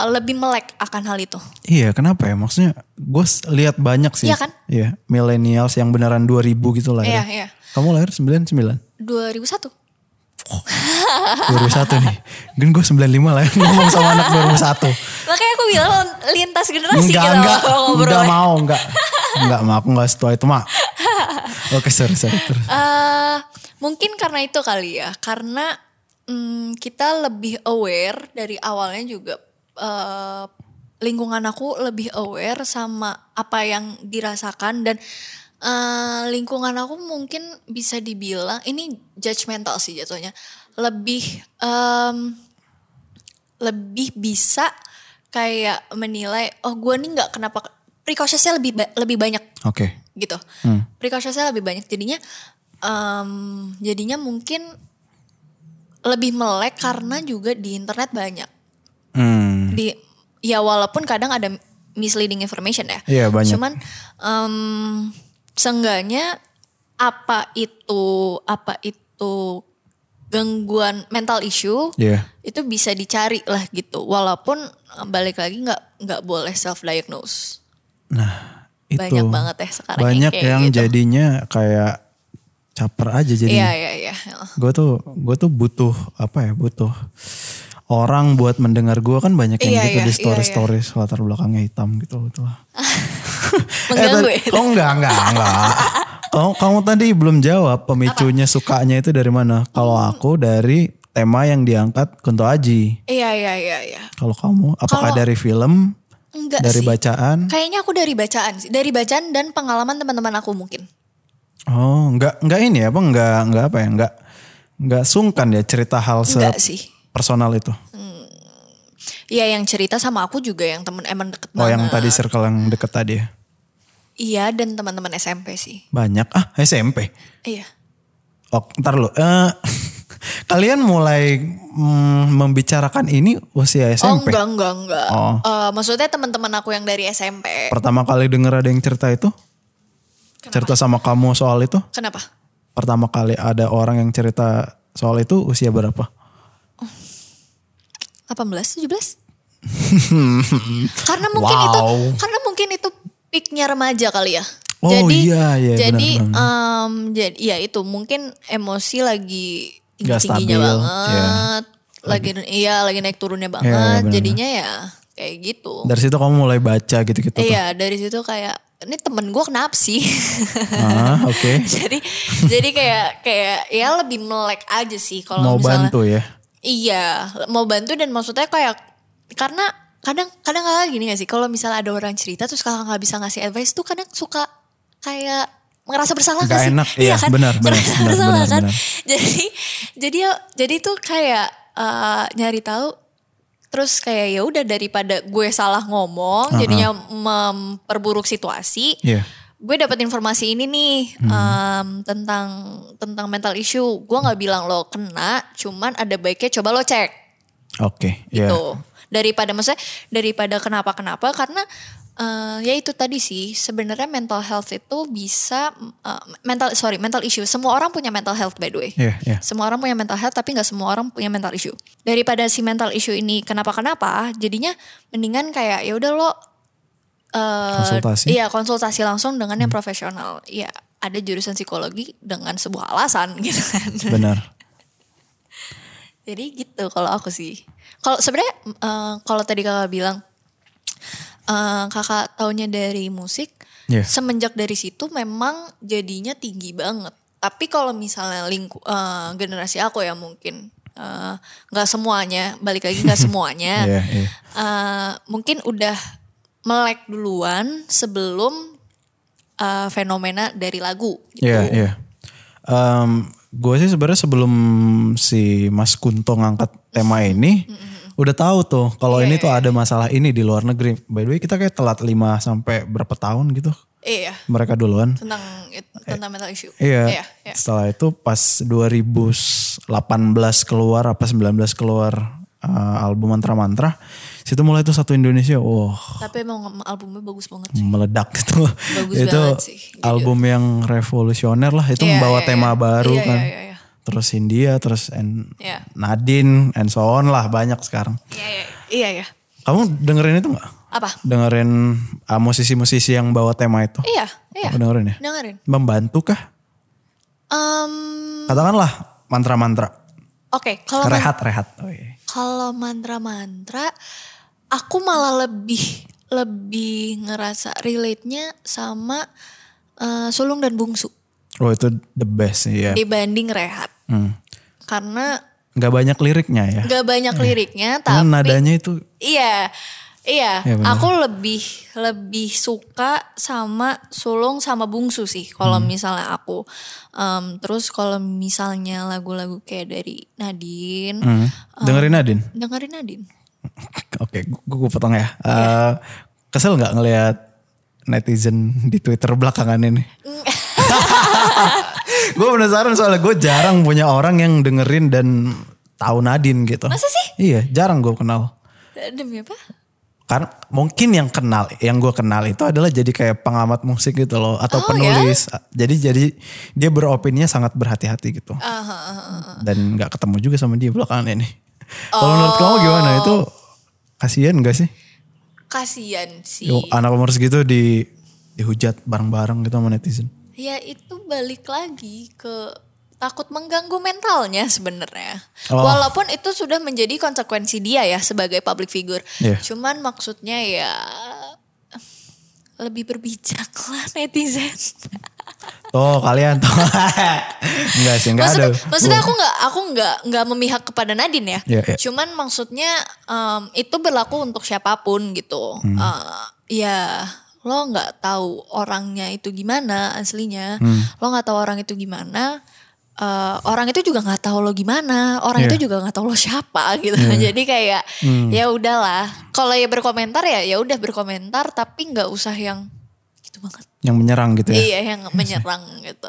Speaker 3: eh, lebih melek akan hal itu.
Speaker 1: Iya, kenapa ya? Maksudnya gue lihat banyak sih.
Speaker 3: Iya kan?
Speaker 1: Iya, millennials yang beneran 2000 gitu lah.
Speaker 3: Iya, iya.
Speaker 1: Kamu lahir 99?
Speaker 3: 2001.
Speaker 1: 2001 nih. Mungkin gue 95 lah ya, ngomong sama anak 2001.
Speaker 3: Makanya aku bilang lintas generasi
Speaker 1: Enggak,
Speaker 3: kita ya.
Speaker 1: enggak. Enggak
Speaker 3: ngobrolnya.
Speaker 1: mau, enggak. Enggak mau, aku enggak setua itu mah. Oke, sorry, sorry. Terus.
Speaker 3: eh mungkin karena itu kali ya, karena mm, kita lebih aware dari awalnya juga eh, lingkungan aku lebih aware sama apa yang dirasakan dan eh, lingkungan aku mungkin bisa dibilang ini judgmental sih jatuhnya lebih em, lebih bisa kayak menilai oh gue nih nggak kenapa precautionnya lebih ba- lebih banyak
Speaker 1: Oke.
Speaker 3: gitu.
Speaker 1: Hmm.
Speaker 3: Precautionnya lebih banyak jadinya em, jadinya mungkin lebih melek karena juga di internet banyak.
Speaker 1: Hmm.
Speaker 3: Di ya walaupun kadang ada misleading information ya.
Speaker 1: Iya, banyak.
Speaker 3: Cuman em seenggaknya apa itu apa itu gangguan mental issue
Speaker 1: Iya.
Speaker 3: itu bisa dicari lah gitu. Walaupun eh, balik lagi nggak nggak boleh self diagnose.
Speaker 1: Nah, itu.
Speaker 3: Banyak banget ya sekarang yang
Speaker 1: Banyak
Speaker 3: kayak
Speaker 1: yang
Speaker 3: gitu.
Speaker 1: jadinya kayak caper aja jadi.
Speaker 3: Iya iya iya. Heeh.
Speaker 1: gue tuh gue tuh butuh apa ya butuh orang buat mendengar gue kan banyak yang
Speaker 3: Iya,
Speaker 1: gitu
Speaker 3: iya,
Speaker 1: di story
Speaker 3: iya, iya.
Speaker 1: stories latar belakangnya hitam gitu gitu lah. eh,
Speaker 3: Mengganggu ya?
Speaker 1: tadi- oh enggak enggak enggak. kamu, kamu tadi belum jawab pemicunya sukanya itu dari mana? Kalau
Speaker 3: Hmm.
Speaker 1: aku dari tema yang diangkat Kunto Aji.
Speaker 3: Iya iya iya iya.
Speaker 1: Kalau kamu apakah
Speaker 3: Kalau-
Speaker 1: dari film,
Speaker 3: Enggak
Speaker 1: dari
Speaker 3: sih.
Speaker 1: bacaan?
Speaker 3: Kayaknya aku dari bacaan sih. Dari bacaan dan pengalaman teman-teman aku mungkin.
Speaker 1: Oh enggak enggak ini apa enggak enggak apa ya enggak enggak sungkan ya cerita hal se
Speaker 3: Enggak sih.
Speaker 1: personal itu.
Speaker 3: Iya yang cerita sama aku juga yang temen emang deket
Speaker 1: Oh
Speaker 3: banget.
Speaker 1: yang tadi circle yang deket tadi ya.
Speaker 3: Iya dan teman-teman SMP sih.
Speaker 1: Banyak ah SMP.
Speaker 3: Iya.
Speaker 1: Oh, ntar lo. Eh kalian mulai mm, membicarakan ini usia
Speaker 3: Oh
Speaker 1: SMP.
Speaker 3: enggak enggak enggak.
Speaker 1: Oh.
Speaker 3: Eh, maksudnya teman-teman aku yang dari SMP.
Speaker 1: Pertama kali denger ada yang cerita itu? Cerita sama kamu soal itu?
Speaker 3: Kenapa?
Speaker 1: Pertama kali ada orang yang cerita soal itu usia berapa?
Speaker 3: 18, 17? karena mungkin itu
Speaker 1: Wow.
Speaker 3: karena mungkin itu peaknya remaja kali ya.
Speaker 1: Oh, iya, iya,
Speaker 3: Jadi
Speaker 1: benar, benar,
Speaker 3: em, jadi ya itu mungkin emosi lagi
Speaker 1: Nggak
Speaker 3: tinggi-tingginya
Speaker 1: stabil, iya.
Speaker 3: banget. Lagi iya lagi naik turunnya banget.
Speaker 1: iya, benar,
Speaker 3: Jadinya ya kayak gitu.
Speaker 1: Dari situ kamu mulai baca gitu-gitu. tuh.
Speaker 3: Iya, dari situ kayak ini temen gue kenapa sih?
Speaker 1: Ah, oke.
Speaker 3: jadi jadi kayak kayak ya lebih melek aja sih kalau
Speaker 1: Mau
Speaker 3: misalnya
Speaker 1: bantu ya.
Speaker 3: Iya, mau bantu dan maksudnya kayak karena kadang kadang kakak gini gak sih kalau misalnya ada orang cerita terus kakak nggak bisa ngasih advice tuh kadang suka kayak ngerasa bersalah
Speaker 1: Nggak
Speaker 3: gak sih?
Speaker 1: enak, iya,
Speaker 3: kan?
Speaker 1: benar, benar,
Speaker 3: Ngerasa
Speaker 1: benar,
Speaker 3: bersalah
Speaker 1: benar,
Speaker 3: kan?
Speaker 1: benar.
Speaker 3: Jadi jadi ya- jadi tuh kayak eh, nyari tahu terus kayak ya udah daripada gue salah ngomong jadinya memperburuk situasi
Speaker 1: Iya.
Speaker 3: gue dapat informasi ini nih em, tentang tentang mental issue gue nggak bilang lo kena cuman ada baiknya coba lo cek
Speaker 1: Oke, iya.
Speaker 3: gitu daripada maksudnya daripada kenapa kenapa karena eh, ya itu tadi sih sebenarnya mental health itu bisa eh, mental sorry mental issue semua orang punya mental health by the way
Speaker 1: Iya, iya.
Speaker 3: semua orang punya mental health tapi nggak semua orang punya mental issue daripada si mental issue ini kenapa kenapa jadinya mendingan kayak ya udah lo eh,
Speaker 1: Konsultasi? Hmm.
Speaker 3: iya konsultasi langsung dengan yang profesional ya ada jurusan psikologi dengan sebuah alasan gitu kan
Speaker 1: Benar.
Speaker 3: jadi gitu kalau aku sih. Kalau sebenarnya mm, eh, kalau tadi kakak bilang eh, kakak taunya dari musik,
Speaker 1: Iya.
Speaker 3: semenjak dari situ memang jadinya tinggi banget. Tapi kalau misalnya lingku eh, generasi aku ya mungkin eh, nggak semuanya balik lagi nggak semuanya
Speaker 1: Iya, iya.
Speaker 3: eh, mungkin udah melek duluan sebelum eh, fenomena dari lagu. Gitu.
Speaker 1: Iya, iya. gue sih sebenarnya sebelum si Mas Kunto ngangkat tema ini, udah tahu tuh kalau
Speaker 3: Iya,
Speaker 1: ini tuh ada masalah ini di luar negeri. By the way, kita kayak telat 5 sampai berapa tahun gitu
Speaker 3: Iya
Speaker 1: mereka duluan.
Speaker 3: tentang tentang mental issue.
Speaker 1: Iya. Setelah itu pas 2018 keluar apa 19 keluar eh, album Mantra Mantra, situ mulai tuh satu Indonesia. Wah,
Speaker 3: Tapi emang albumnya bagus banget sih.
Speaker 1: meledak gitu.
Speaker 3: Bagus
Speaker 1: itu
Speaker 3: banget sih, jujur.
Speaker 1: album yang revolusioner lah, itu membawa tema baru
Speaker 3: Iya,
Speaker 1: kan.
Speaker 3: Iya, iya, iya.
Speaker 1: terus India, terus and
Speaker 3: Iya.
Speaker 1: Nadine, and so on lah banyak sekarang.
Speaker 3: Iya, iya, iya, iya.
Speaker 1: Kamu dengerin itu nggak?
Speaker 3: Apa?
Speaker 1: Dengerin ah, musisi-musisi yang bawa tema itu?
Speaker 3: Iya, iya.
Speaker 1: Kamu dengerin ya?
Speaker 3: Dengerin.
Speaker 1: Membantu kah?
Speaker 3: Em,
Speaker 1: Katakanlah mantra-mantra.
Speaker 3: Oke, kalau man-
Speaker 1: Rehat, rehat. Oh, iya.
Speaker 3: kalau mantra-mantra, aku malah lebih lebih ngerasa relate-nya sama eh, sulung dan bungsu
Speaker 1: Oh itu the best sih ya.
Speaker 3: dibanding rehat,
Speaker 1: Hmm.
Speaker 3: karena
Speaker 1: Gak banyak liriknya ya.
Speaker 3: gak banyak liriknya,
Speaker 1: Cuman
Speaker 3: tapi
Speaker 1: nadanya itu
Speaker 3: Iya, iya.
Speaker 1: Iya, bener.
Speaker 3: aku lebih lebih suka sama sulung sama bungsu sih. Kalau
Speaker 1: Hmm.
Speaker 3: misalnya aku, Em, terus kalau misalnya lagu-lagu kayak dari Nadine,
Speaker 1: Hmm. dengerin Nadine.
Speaker 3: dengerin Nadine.
Speaker 1: Oke, gue, potong ya. Eh, Kesel nggak ngelihat netizen di Twitter belakangan ini? gue penasaran soalnya gue jarang punya orang yang dengerin dan tahu Nadine gitu.
Speaker 3: Masa sih?
Speaker 1: Iya, jarang gue kenal.
Speaker 3: Eh, Demi apa?
Speaker 1: Karena mungkin yang kenal, yang gue kenal itu adalah jadi kayak pengamat musik gitu loh, atau
Speaker 3: Oh,
Speaker 1: penulis. Jadi jadi dia beropininya sangat berhati-hati gitu.
Speaker 3: Eh, Oh.
Speaker 1: Dan nggak ketemu juga sama dia belakangan ini.
Speaker 3: Oh.
Speaker 1: Kalau menurut kamu gimana itu? Kasian gak sih?
Speaker 3: Kasian sih.
Speaker 1: Yo, anak umur segitu di dihujat bareng-bareng gitu sama netizen.
Speaker 3: Ya itu balik lagi ke takut mengganggu mentalnya sebenarnya.
Speaker 1: Oh.
Speaker 3: Walaupun itu sudah menjadi konsekuensi dia ya sebagai public figure.
Speaker 1: Iya.
Speaker 3: Cuman maksudnya ya lebih berbijaklah netizen.
Speaker 1: Tuh kalian tuh. enggak sih, enggak ada.
Speaker 3: maksudnya, maksudnya aku nggak aku nggak nggak memihak kepada Nadine ya.
Speaker 1: Iya, iya.
Speaker 3: Cuman maksudnya em, itu berlaku untuk siapapun gitu.
Speaker 1: Hmm.
Speaker 3: Eh, ya lo nggak tahu orangnya itu gimana aslinya.
Speaker 1: Hmm.
Speaker 3: Lo nggak tahu orang itu gimana. eh, orang itu juga nggak tahu lo gimana. Orang
Speaker 1: Iya. Hmm.
Speaker 3: itu juga nggak tahu lo siapa gitu. Jadi kayak ya udahlah. Kalau ya berkomentar ya ya udah berkomentar tapi nggak usah yang gitu banget.
Speaker 1: yang menyerang gitu ya.
Speaker 3: Iya yang menyerang gitu.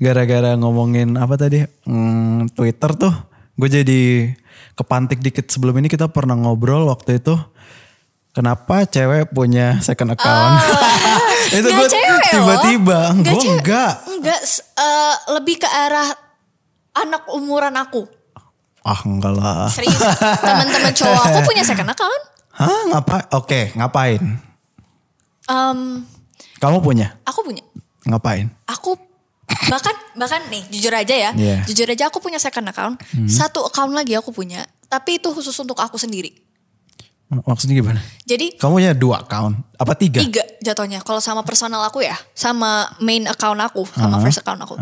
Speaker 1: Gara-gara ngomongin apa tadi? Hmm, Twitter tuh. Gue jadi kepantik dikit sebelum ini kita pernah ngobrol waktu itu. Kenapa cewek punya second account? itu
Speaker 3: Oh, iya. Nggak
Speaker 1: gue
Speaker 3: cewek loh.
Speaker 1: tiba-tiba.
Speaker 3: Nggak
Speaker 1: Gue
Speaker 3: cewek.
Speaker 1: enggak.
Speaker 3: Enggak, s- eh, lebih ke arah anak umuran aku.
Speaker 1: Ah enggak lah.
Speaker 3: Serius, teman-teman cowok aku punya second account.
Speaker 1: Hah ngapain? Oke ngapain?
Speaker 3: Em,
Speaker 1: Kamu punya?
Speaker 3: aku punya.
Speaker 1: Ngapain?
Speaker 3: Aku bahkan bahkan nih jujur aja ya.
Speaker 1: Iya. Hmm.
Speaker 3: Jujur aja aku punya second account. Satu account lagi aku punya, tapi itu khusus untuk aku sendiri.
Speaker 1: Mak- Maksudnya gimana?
Speaker 3: Jadi
Speaker 1: Kamu punya dua account? Apa tiga?
Speaker 3: tiga jatuhnya kalau sama personal aku ya sama main account aku sama
Speaker 1: Uh-huh.
Speaker 3: first account aku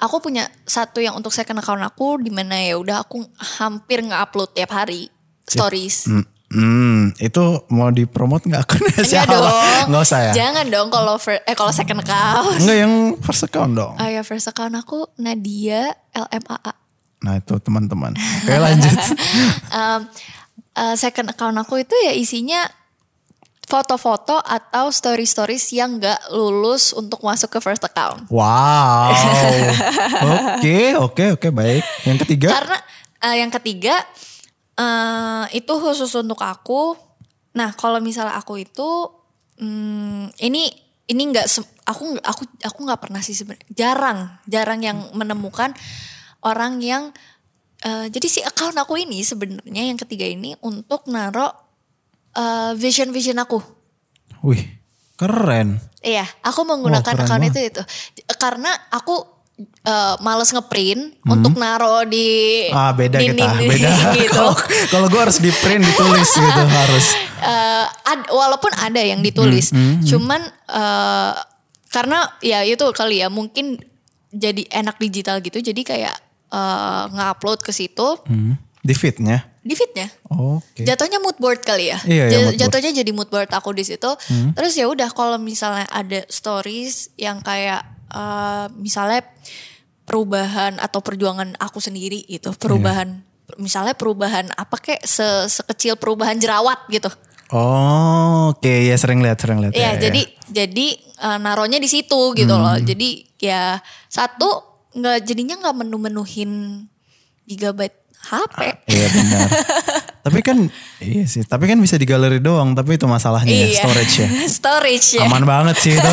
Speaker 3: aku punya satu yang untuk second account aku di mana ya udah aku hampir nggak upload tiap hari stories
Speaker 1: Hmm, hmm, itu mau dipromot nggak akunnya
Speaker 3: Enggak
Speaker 1: siapa?
Speaker 3: dong
Speaker 1: Nggak usah ya?
Speaker 3: jangan dong kalau fir- eh kalau second account
Speaker 1: Enggak yang first account dong.
Speaker 3: oh ya first account aku Nadia LMAA
Speaker 1: Nah itu teman-teman. Oke lanjut.
Speaker 3: Um, uh, second account aku itu ya isinya foto-foto atau story-stories yang nggak lulus untuk masuk ke first account
Speaker 1: wow. Oke oke oke baik. Yang ketiga?
Speaker 3: Karena eh, yang ketiga eh, itu khusus untuk aku. Nah, kalau misalnya aku itu hmm, ini ini nggak se- aku nggak- aku aku nggak pernah sih sebenarnya. Jarang, jarang yang menemukan orang yang eh, jadi si account aku ini sebenarnya yang ketiga ini untuk naro vision vision aku.
Speaker 1: Wih keren.
Speaker 3: Iya, aku menggunakan
Speaker 1: Wah, keren
Speaker 3: account itu itu karena aku eh, males ngeprint untuk naro di
Speaker 1: Hmm. Ah beda
Speaker 3: dinding-
Speaker 1: kita. Beda.
Speaker 3: gitu.
Speaker 1: Kalau- Kalau gue harus di print ditulis gitu harus.
Speaker 3: Eh, ad- walaupun ada yang ditulis,
Speaker 1: Hmm,
Speaker 3: cuman eh, karena ya itu kali ya mungkin jadi enak digital gitu, jadi kayak eh, nge-upload ke situ
Speaker 1: Hmm, di fitnya.
Speaker 3: di feednya.
Speaker 1: Oke.
Speaker 3: Jatuhnya mood board kali ya.
Speaker 1: Iya, iya,
Speaker 3: Ja-
Speaker 1: mood board. Hmm.
Speaker 3: Jatuhnya jadi mood board aku di situ. Terus ya udah kalau misalnya ada stories yang kayak eh, misalnya perubahan atau perjuangan aku sendiri gitu, perubahan
Speaker 1: Iya.
Speaker 3: misalnya perubahan apa kek se- sekecil perubahan jerawat gitu.
Speaker 1: Oh, oke ya sering lihat sering lihat.
Speaker 3: Iya,
Speaker 1: ya, ya.
Speaker 3: jadi jadi eh, naruhnya di situ gitu loh.
Speaker 1: Hmm.
Speaker 3: Jadi ya satu nggak jadinya nggak menu-menuhin gigabyte HP.
Speaker 1: Iya benar. tapi kan iya sih, tapi kan bisa di galeri doang, tapi itu masalahnya ya,
Speaker 3: Iya.
Speaker 1: storage ya.
Speaker 3: storage ya.
Speaker 1: Aman banget sih itu.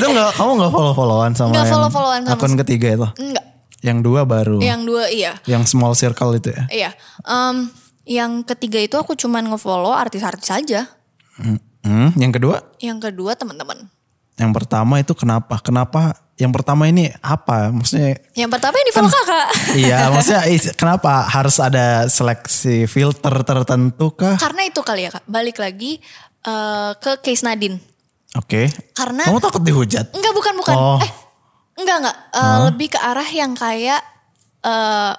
Speaker 1: itu enggak kamu enggak follow-followan sama
Speaker 3: Nggak
Speaker 1: yang
Speaker 3: follow-followan sama
Speaker 1: akun ketiga itu.
Speaker 3: Enggak.
Speaker 1: Yang dua baru.
Speaker 3: Yang dua iya.
Speaker 1: Yang small circle itu ya.
Speaker 3: Iya. Em, yang ketiga itu aku cuman ngefollow artis-artis aja.
Speaker 1: Hmm, yang kedua?
Speaker 3: Yang kedua teman-teman.
Speaker 1: Yang pertama itu kenapa? Kenapa yang pertama ini apa? Maksudnya
Speaker 3: Yang pertama yang di follow kakak.
Speaker 1: iya, maksudnya is- kenapa harus ada seleksi filter tertentu kah?
Speaker 3: Karena itu kali ya kak. Balik lagi eh, ke case Nadine.
Speaker 1: Oke.
Speaker 3: Karena
Speaker 1: Kamu takut dihujat?
Speaker 3: Enggak bukan bukan.
Speaker 1: Oh.
Speaker 3: Eh, enggak enggak. Eh, Lebih ke arah yang kayak eh,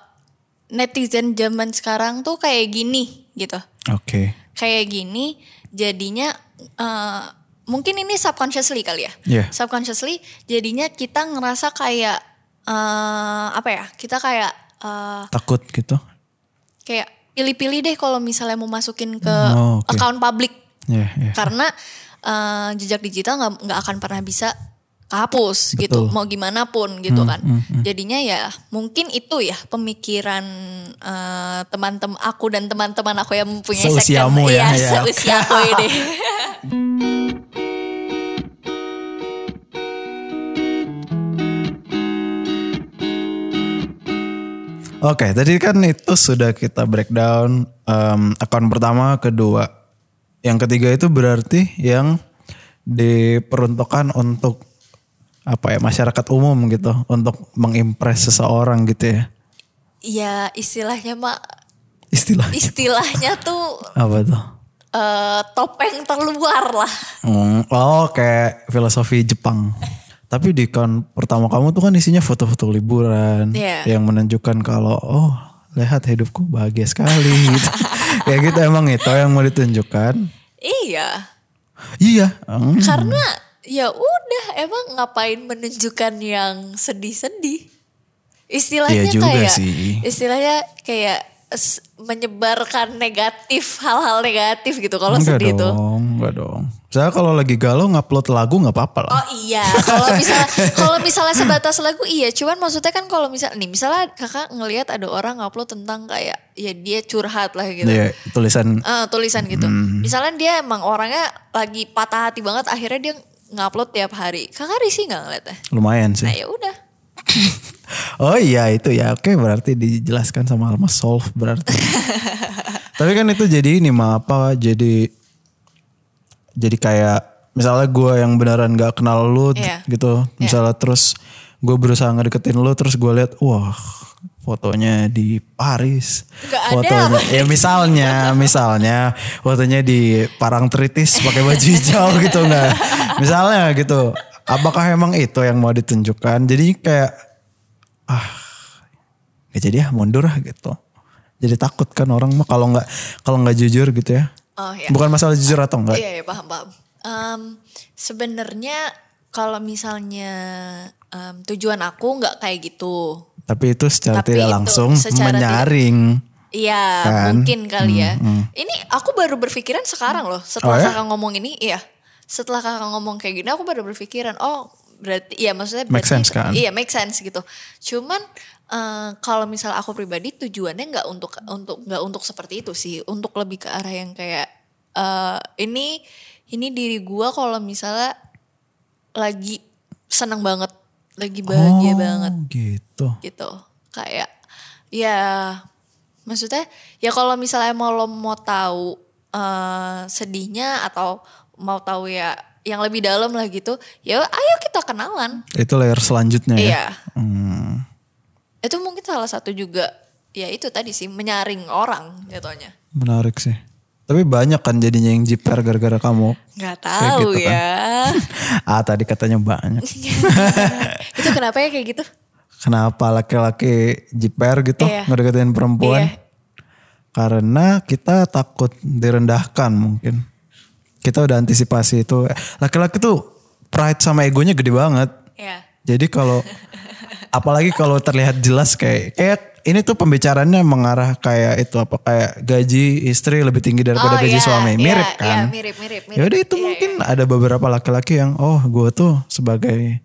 Speaker 3: netizen zaman sekarang tuh kayak gini gitu.
Speaker 1: Oke.
Speaker 3: Kayak gini jadinya eh, mungkin ini subconsciously kali ya.
Speaker 1: Iya.
Speaker 3: Subconsciously jadinya kita ngerasa kayak eh, apa ya? Kita kayak eh,
Speaker 1: Takut gitu.
Speaker 3: kayak pilih-pilih deh kalau misalnya mau masukin ke
Speaker 1: Oh, oke.
Speaker 3: account publik
Speaker 1: Iya, iya.
Speaker 3: karena eh, jejak digital nggak nggak akan pernah bisa kehapus
Speaker 1: Betul.
Speaker 3: gitu
Speaker 1: Hmm,
Speaker 3: mau gimana pun gitu kan jadinya ya mungkin itu ya pemikiran eh, teman-teman aku dan teman-teman aku yang mempunyai second-
Speaker 1: Seusiamu ya,
Speaker 3: Iya,
Speaker 1: ya.
Speaker 3: seusia aku ini
Speaker 1: Oke, tadi kan itu sudah kita breakdown em, akun pertama, kedua. Yang ketiga itu berarti yang diperuntukkan untuk apa ya masyarakat umum gitu, untuk mengimpress seseorang gitu ya.
Speaker 3: ya istilahnya mak
Speaker 1: Istilahnya
Speaker 3: istilahnya tuh
Speaker 1: apa tuh?
Speaker 3: eh, topeng terluar lah
Speaker 1: Hmm, oh kayak filosofi Jepang. Tapi di kan pertama kamu tuh kan isinya foto-foto liburan
Speaker 3: Iya.
Speaker 1: yang menunjukkan kalau oh lihat hidupku bahagia sekali gitu. kayak gitu emang itu yang mau ditunjukkan.
Speaker 3: iya
Speaker 1: Iya. Hmm.
Speaker 3: karena ya udah emang ngapain menunjukkan yang sedih-sedih istilahnya
Speaker 1: Iya juga
Speaker 3: kayak
Speaker 1: sih.
Speaker 3: istilahnya kayak s- menyebarkan negatif hal-hal negatif gitu kalau
Speaker 1: enggak
Speaker 3: sedih tuh
Speaker 1: dong, enggak dong. Saya kalau lagi galau ngupload lagu nggak apa-apa lah.
Speaker 3: Oh iya, kalau misalnya kalau misalnya sebatas lagu iya, cuman maksudnya kan kalau misalnya nih misalnya kakak ngelihat ada orang upload tentang kayak ya dia curhat lah gitu.
Speaker 1: Iya, tulisan
Speaker 3: Eh, tulisan gitu.
Speaker 1: Mm-hmm.
Speaker 3: Misalnya dia emang orangnya lagi patah hati banget akhirnya dia ngupload tiap hari. Kakak risih nggak ngeliatnya?
Speaker 1: lumayan
Speaker 3: Nah
Speaker 1: sih.
Speaker 3: ya udah.
Speaker 1: Oh iya itu ya. Oke berarti dijelaskan sama Alma Solve berarti. Tapi kan itu jadi ini mah apa jadi jadi kayak misalnya gue yang beneran gak kenal lu t-
Speaker 3: Iya.
Speaker 1: gitu. Misalnya terus gue berusaha ngedeketin lu terus gue lihat wah fotonya di Paris.
Speaker 3: Nggak ada
Speaker 1: fotonya
Speaker 3: apa.
Speaker 1: ya misalnya misalnya fotonya di Parang Tritis pakai baju hijau gitu nggak. Misalnya gitu. Apakah emang itu yang mau ditunjukkan? Jadi kayak ya jadi ah mundur ah gitu jadi takut kan orang mah kalau nggak kalau nggak jujur gitu ya
Speaker 3: Oh ya.
Speaker 1: bukan masalah jujur atau enggak
Speaker 3: Iya, iya paham paham. Em, Sebenarnya kalau misalnya em, tujuan aku nggak kayak gitu.
Speaker 1: tapi itu secara
Speaker 3: Tapi
Speaker 1: tidak
Speaker 3: itu
Speaker 1: langsung
Speaker 3: secara
Speaker 1: menyaring
Speaker 3: Iya
Speaker 1: Kan? mm.
Speaker 3: mungkin kali ya. Ini aku baru berpikiran sekarang loh
Speaker 1: Oh,
Speaker 3: setelah
Speaker 1: ya?
Speaker 3: kakak ngomong ini. Iya. Setelah kakak ngomong kayak gini aku baru berpikiran oh berarti iya maksudnya
Speaker 1: Make
Speaker 3: berarti-
Speaker 1: sense, kan?
Speaker 3: Iya make sense gitu. Cuman eh, kalau misal aku pribadi tujuannya nggak untuk untuk nggak untuk seperti itu sih. Untuk lebih ke arah yang kayak eh, ini ini diri gua kalau misalnya lagi seneng banget, lagi bahagia
Speaker 1: Oh,
Speaker 3: banget
Speaker 1: gitu
Speaker 3: gitu kayak ya maksudnya ya kalau misalnya mau lo mau tahu eh, sedihnya atau mau tahu ya yang lebih dalam lah gitu ya ayo kita kenalan
Speaker 1: itu layer selanjutnya ya
Speaker 3: iya
Speaker 1: Hmm.
Speaker 3: itu mungkin salah satu juga ya itu tadi sih menyaring orang jatuhnya
Speaker 1: menarik sih tapi banyak kan jadinya yang jiper gara-gara kamu
Speaker 3: nggak
Speaker 1: Kayak
Speaker 3: tahu
Speaker 1: gitu kan.
Speaker 3: ya
Speaker 1: ah tadi katanya banyak
Speaker 3: itu kenapa ya kayak gitu
Speaker 1: kenapa laki-laki jiper gitu
Speaker 3: Iya.
Speaker 1: ngedeketin perempuan
Speaker 3: Iya.
Speaker 1: karena kita takut direndahkan mungkin kita udah antisipasi itu laki-laki tuh pride sama egonya gede banget
Speaker 3: ya
Speaker 1: jadi kalau apalagi kalau terlihat jelas kayak kayak ini tuh pembicaraannya mengarah kayak itu apa kayak gaji istri lebih tinggi daripada
Speaker 3: Oh,
Speaker 1: gaji
Speaker 3: iya,
Speaker 1: suami
Speaker 3: iya,
Speaker 1: mirip
Speaker 3: iya,
Speaker 1: kan
Speaker 3: mirip, mirip, mirip.
Speaker 1: ya udah itu
Speaker 3: Iya,
Speaker 1: mungkin ada beberapa laki-laki yang oh gue tuh sebagai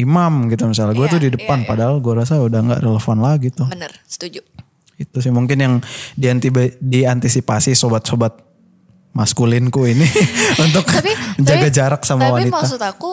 Speaker 1: imam gitu misalnya gue
Speaker 3: Iya,
Speaker 1: tuh di
Speaker 3: iya,
Speaker 1: depan
Speaker 3: iya.
Speaker 1: padahal gue rasa udah nggak relevan lagi tuh
Speaker 3: bener setuju
Speaker 1: itu sih mungkin yang dianti- diantisipasi sobat-sobat maskulinku ini untuk menjaga jarak sama
Speaker 3: tapi
Speaker 1: wanita.
Speaker 3: maksud aku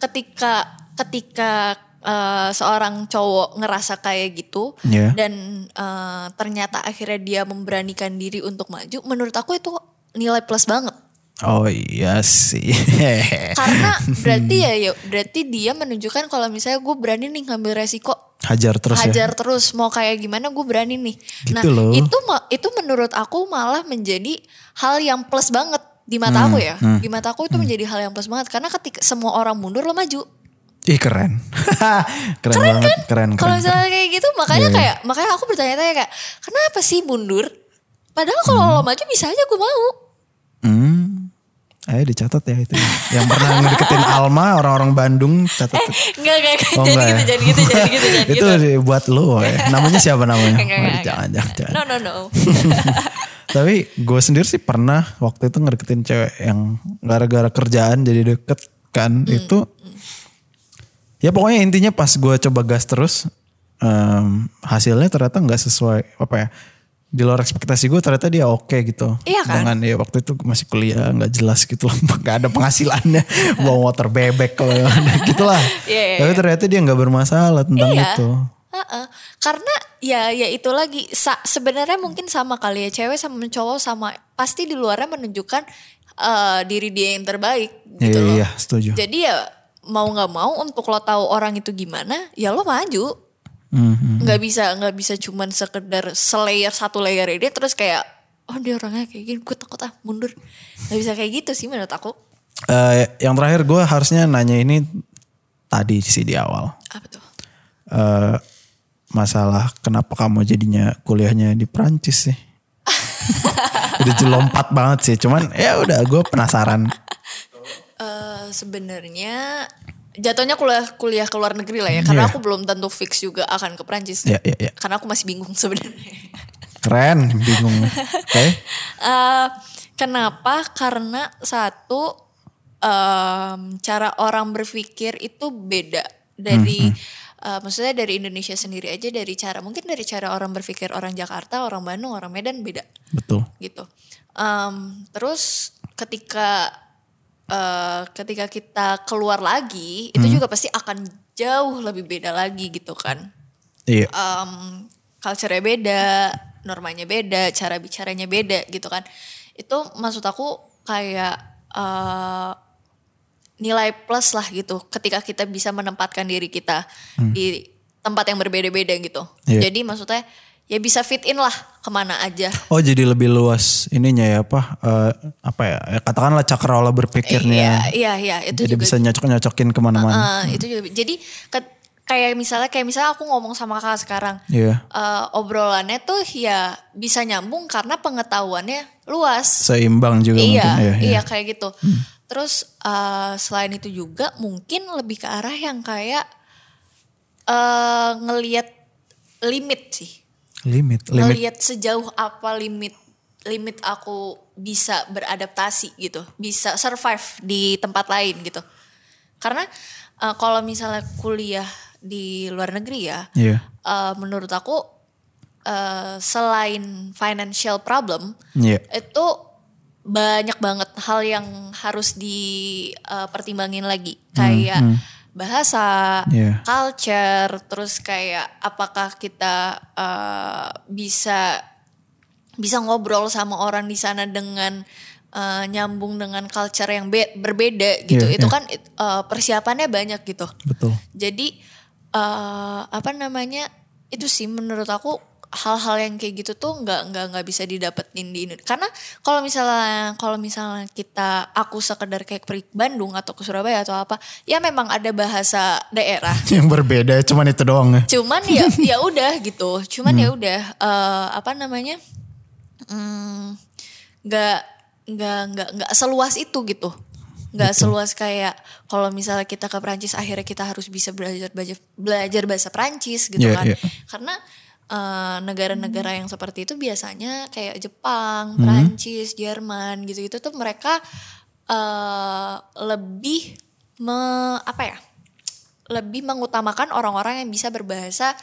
Speaker 3: ketika ketika eh, seorang cowok ngerasa kayak gitu
Speaker 1: Iya.
Speaker 3: dan eh, ternyata akhirnya dia memberanikan diri untuk maju, menurut aku itu nilai plus banget.
Speaker 1: Oh iya sih. Eh.
Speaker 3: Karena berarti ya, ya berarti dia menunjukkan kalau misalnya gue berani nih ngambil resiko
Speaker 1: Hajar terus ya.
Speaker 3: hajar terus mau kayak gimana gue berani nih. nah,
Speaker 1: Gitu loh.
Speaker 3: itu ma- itu menurut aku malah menjadi hal yang plus banget di mata
Speaker 1: Hmm,
Speaker 3: aku ya. Di mata aku itu menjadi hal yang plus banget karena ketika semua orang mundur lo maju.
Speaker 1: Ih Hmm. keren. keren, banget, keren
Speaker 3: kan? Kalau
Speaker 1: keren. Iya,
Speaker 3: misalnya kayak gitu makanya kayak makanya aku bertanya-tanya kayak kenapa sih mundur? Padahal kalau lo maju bisa aja gue mau.
Speaker 1: Hmm. Ayo dicatat ya itu. Yang pernah ngedeketin Alma orang-orang Bandung catat.
Speaker 3: Enggak enggak enggak.
Speaker 1: Oh,
Speaker 3: Eh, jadi
Speaker 1: enggak ya?
Speaker 3: gitu jadi gitu jadi gitu jadi
Speaker 1: itu
Speaker 3: gitu.
Speaker 1: buat lo ya. Namanya siapa namanya?
Speaker 3: Enggak, enggak, enggak.
Speaker 1: jangan, jangan, jangan.
Speaker 3: No no no.
Speaker 1: Tapi gue sendiri sih pernah waktu itu ngedeketin cewek yang gara-gara kerjaan jadi deket kan
Speaker 3: Hmm.
Speaker 1: itu. Ya pokoknya intinya pas gue coba gas terus em, hasilnya ternyata nggak sesuai apa ya di luar ekspektasi gue ternyata dia oke gitu.
Speaker 3: Iya kan?
Speaker 1: Dengan ya waktu itu masih kuliah nggak jelas gitu loh, nggak ada penghasilannya, bawa motor bebek kalau gitulah.
Speaker 3: Iya, iya,
Speaker 1: Tapi ternyata dia nggak bermasalah tentang
Speaker 3: Iya.
Speaker 1: itu.
Speaker 3: Heeh. Karena ya ya itu lagi Sa- sebenarnya mungkin sama kali ya cewek sama cowok sama pasti di luarnya menunjukkan eh, diri dia yang terbaik gitu
Speaker 1: Iya,
Speaker 3: loh.
Speaker 1: iya, setuju.
Speaker 3: Jadi ya mau nggak mau untuk lo tahu orang itu gimana ya lo maju
Speaker 1: Mhm.
Speaker 3: nggak bisa nggak bisa cuman sekedar selayer satu layer ini terus kayak oh dia orangnya kayak gini gue takut ah mundur nggak bisa kayak gitu sih menurut aku
Speaker 1: Eh, yang terakhir gue harusnya nanya ini tadi sih di awal
Speaker 3: apa tuh
Speaker 1: Eh, masalah kenapa kamu jadinya kuliahnya di Prancis sih? Udah jelompat banget sih, cuman ya udah gue penasaran.
Speaker 3: Eh, sebenarnya jatuhnya kuliah kuliah ke luar negeri lah ya karena
Speaker 1: Iya.
Speaker 3: aku belum tentu fix juga akan ke Prancis
Speaker 1: Ya ya ya,
Speaker 3: karena aku masih bingung sebenarnya
Speaker 1: keren, bingung. Oke,
Speaker 3: Eh, kenapa karena satu em, cara orang berpikir itu beda dari eh, maksudnya dari Indonesia sendiri aja dari cara mungkin dari cara orang berpikir orang Jakarta orang Bandung orang Medan beda
Speaker 1: betul.
Speaker 3: gitu. Em, terus ketika eh, ketika kita keluar lagi itu juga pasti akan jauh lebih beda lagi gitu kan.
Speaker 1: Iya,
Speaker 3: Em culture-nya beda, normanya beda, cara bicaranya beda gitu kan. Itu maksud aku kayak eh, nilai plus lah gitu ketika kita bisa menempatkan diri kita di tempat yang berbeda-beda gitu.
Speaker 1: Iya.
Speaker 3: Jadi maksudnya ya bisa fit in lah kemana aja.
Speaker 1: Oh jadi lebih luas ininya ya apa? eh, apa ya? ya, Katakanlah cakrawala berpikirnya.
Speaker 3: Iya, iya, iya, itu
Speaker 1: jadi
Speaker 3: juga.
Speaker 1: bisa nyocok-nyocokin kemana-mana.
Speaker 3: Eh, itu juga. Jadi ke- kayak misalnya kayak misalnya aku ngomong sama kakak sekarang,
Speaker 1: Iya,
Speaker 3: eh, obrolannya tuh ya bisa nyambung karena pengetahuannya luas.
Speaker 1: seimbang juga
Speaker 3: iya,
Speaker 1: mungkin. ya, ya.
Speaker 3: iya kayak gitu. Terus eh, selain itu juga mungkin lebih ke arah yang kayak eh ngelihat limit sih.
Speaker 1: Limit, limit.
Speaker 3: Ngelihat sejauh apa limit limit aku bisa beradaptasi gitu, bisa survive di tempat lain gitu. Karena eh, kalau misalnya kuliah di luar negeri ya,
Speaker 1: Iya.
Speaker 3: eh, menurut aku eh, selain financial problem
Speaker 1: Iya.
Speaker 3: itu banyak banget hal yang harus dipertimbangin lagi kayak bahasa,
Speaker 1: Hmm, Iya.
Speaker 3: culture, terus kayak apakah kita eh, bisa bisa ngobrol sama orang di sana dengan eh, nyambung dengan culture yang be- berbeda gitu.
Speaker 1: Iya,
Speaker 3: itu
Speaker 1: iya.
Speaker 3: kan eh, persiapannya banyak gitu.
Speaker 1: Betul.
Speaker 3: Jadi eh apa namanya itu sih menurut aku hal-hal yang kayak gitu tuh nggak nggak nggak bisa didapetin di Indonesia. Karena kalau misalnya kalau misalnya kita aku sekedar kayak ke Bandung atau ke Surabaya atau apa, ya memang ada bahasa daerah.
Speaker 1: Yang berbeda cuman itu doang ya.
Speaker 3: Cuman ya ya udah gitu. Cuman
Speaker 1: Hmm.
Speaker 3: ya udah eh, apa namanya Hmm, nggak nggak nggak nggak seluas itu gitu nggak seluas kayak kalau misalnya kita ke Prancis akhirnya kita harus bisa belajar belajar belajar bahasa Prancis gitu
Speaker 1: Iya,
Speaker 3: kan
Speaker 1: iya.
Speaker 3: karena eh,
Speaker 1: Hmm.
Speaker 3: negara-negara yang seperti itu biasanya kayak Jepang, Prancis, Jerman gitu-gitu tuh mereka eh, lebih me, apa ya lebih mengutamakan orang-orang yang bisa berbahasa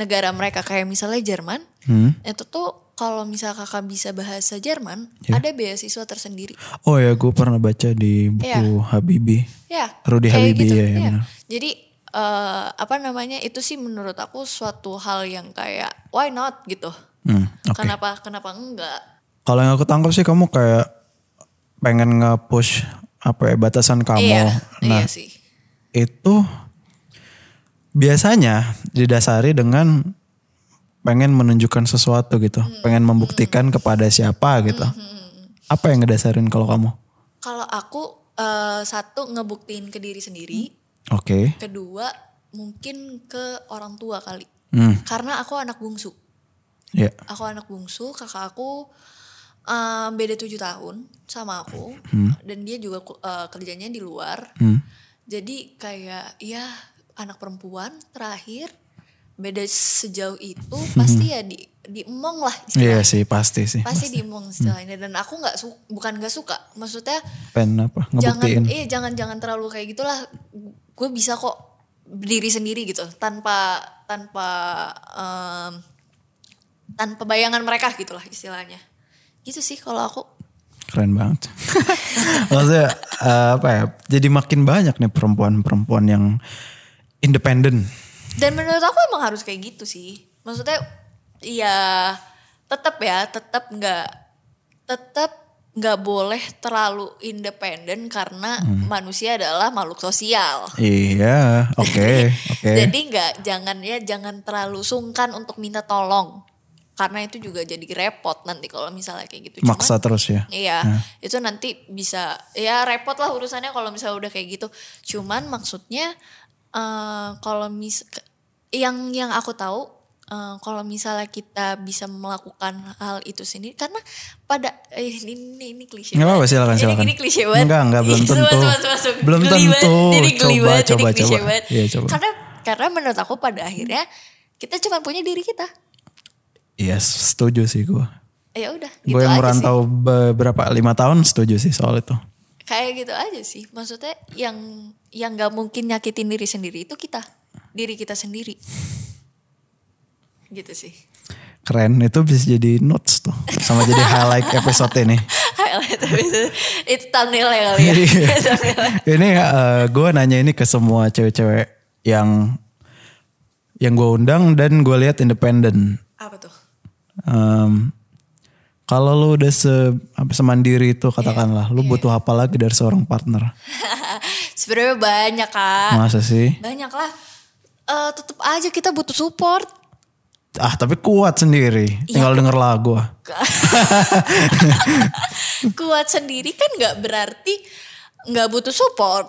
Speaker 3: negara mereka kayak misalnya Jerman
Speaker 1: Hmm.
Speaker 3: itu tuh kalau misal kakak bisa bahasa Jerman
Speaker 1: Ya.
Speaker 3: ada beasiswa tersendiri
Speaker 1: Oh ya, gue pernah baca di buku
Speaker 3: Iya.
Speaker 1: Habibie.
Speaker 3: ya
Speaker 1: Rudy
Speaker 3: kayak gitu.
Speaker 1: Habibie, iya, iya, benar.
Speaker 3: jadi eh, apa namanya itu sih menurut aku suatu hal yang kayak why not gitu.
Speaker 1: Hmm, oke.
Speaker 3: Kenapa kenapa enggak?
Speaker 1: Kalau yang aku tangkap sih kamu kayak pengen nge-push apa ya batasan kamu.
Speaker 3: iya,
Speaker 1: nah,
Speaker 3: iya sih.
Speaker 1: itu biasanya didasari dengan pengen menunjukkan sesuatu gitu,
Speaker 3: Hmm,
Speaker 1: pengen membuktikan kepada siapa gitu. Apa yang ngedasarin kalau kamu?
Speaker 3: Kalau aku eh, satu ngebuktiin ke diri sendiri,
Speaker 1: Oke.
Speaker 3: kedua mungkin ke orang tua kali.
Speaker 1: Hmm,
Speaker 3: Karena aku anak bungsu.
Speaker 1: ya.
Speaker 3: Aku anak bungsu, kakak aku eh, beda tujuh tahun sama aku, dan dia juga ku- eh, kerjanya di luar.
Speaker 1: Hmm.
Speaker 3: Jadi kayak ya anak perempuan terakhir beda sejauh itu pasti ya di diemong lah istilahnya.
Speaker 1: Hmm. Iya sih, pasti sih.
Speaker 3: pasti diemong istilahnya dan aku nggak su- bukan nggak suka maksudnya
Speaker 1: Pengen apa?
Speaker 3: jangan
Speaker 1: Ngebuktiin.
Speaker 3: eh jangan jangan terlalu kayak gitulah gue bisa kok berdiri sendiri gitu tanpa tanpa em, tanpa bayangan mereka gitulah istilahnya gitu sih kalau aku
Speaker 1: Keren banget. Maksudnya eh, apa ya? Jadi makin banyak nih perempuan-perempuan yang independen.
Speaker 3: dan menurut aku emang harus kayak gitu sih maksudnya ya tetap ya tetap nggak tetap nggak boleh terlalu independen karena manusia adalah makhluk sosial
Speaker 1: Iya, oke, oke.
Speaker 3: Jadi nggak jangan ya jangan terlalu sungkan untuk minta tolong karena itu juga jadi repot nanti kalau misalnya kayak gitu. Cuman,
Speaker 1: Maksa terus ya.
Speaker 3: Iya, itu nanti bisa ya repot lah urusannya kalau misalnya udah kayak gitu. Cuman maksudnya eh, kalau mis ke- yang yang aku tahu eh, kalau misalnya kita bisa melakukan hal itu sendiri karena pada eh, ini ini, ini klise.
Speaker 1: Nggak apa-apa,
Speaker 3: banget.
Speaker 1: silakan,
Speaker 3: Ini-
Speaker 1: silakan.
Speaker 3: Ini, klise banget.
Speaker 1: Enggak, enggak, belum
Speaker 3: Sumpah,
Speaker 1: tentu.
Speaker 3: sumpah, sumpah, sumpah.
Speaker 1: Belum
Speaker 3: Geli banget,
Speaker 1: tentu.
Speaker 3: Jadi geli
Speaker 1: Coba,
Speaker 3: banget, jadi
Speaker 1: coba,
Speaker 3: klise
Speaker 1: coba.
Speaker 3: banget.
Speaker 1: Iya, coba.
Speaker 3: Karena karena menurut aku pada akhirnya kita cuma punya diri kita.
Speaker 1: Yes, Iya, setuju sih gue.
Speaker 3: Ya udah, gitu
Speaker 1: Gue yang
Speaker 3: aja sih.
Speaker 1: merantau beberapa lima tahun setuju sih soal itu.
Speaker 3: kayak gitu aja sih maksudnya yang yang nggak mungkin nyakitin diri sendiri itu kita diri kita sendiri gitu sih
Speaker 1: Keren, itu bisa jadi notes tuh. Sama jadi highlight episode ini.
Speaker 3: highlight itu itu thumbnail ya kali ya
Speaker 1: Iya.
Speaker 3: Thumbnail.
Speaker 1: ini eh, gue nanya ini ke semua cewek-cewek yang yang gue undang dan gue lihat independen.
Speaker 3: apa tuh
Speaker 1: Em, kalau lu udah se, apa, semandiri itu katakanlah,
Speaker 3: Iya.
Speaker 1: lu butuh apa lagi dari seorang partner?
Speaker 3: sebenarnya banyak kak
Speaker 1: Masa sih?
Speaker 3: banyak lah Eh, tetep aja kita butuh support
Speaker 1: Ah tapi kuat sendiri,
Speaker 3: Iya.
Speaker 1: tinggal denger lagu. ah.
Speaker 3: kuat sendiri kan nggak berarti nggak butuh support.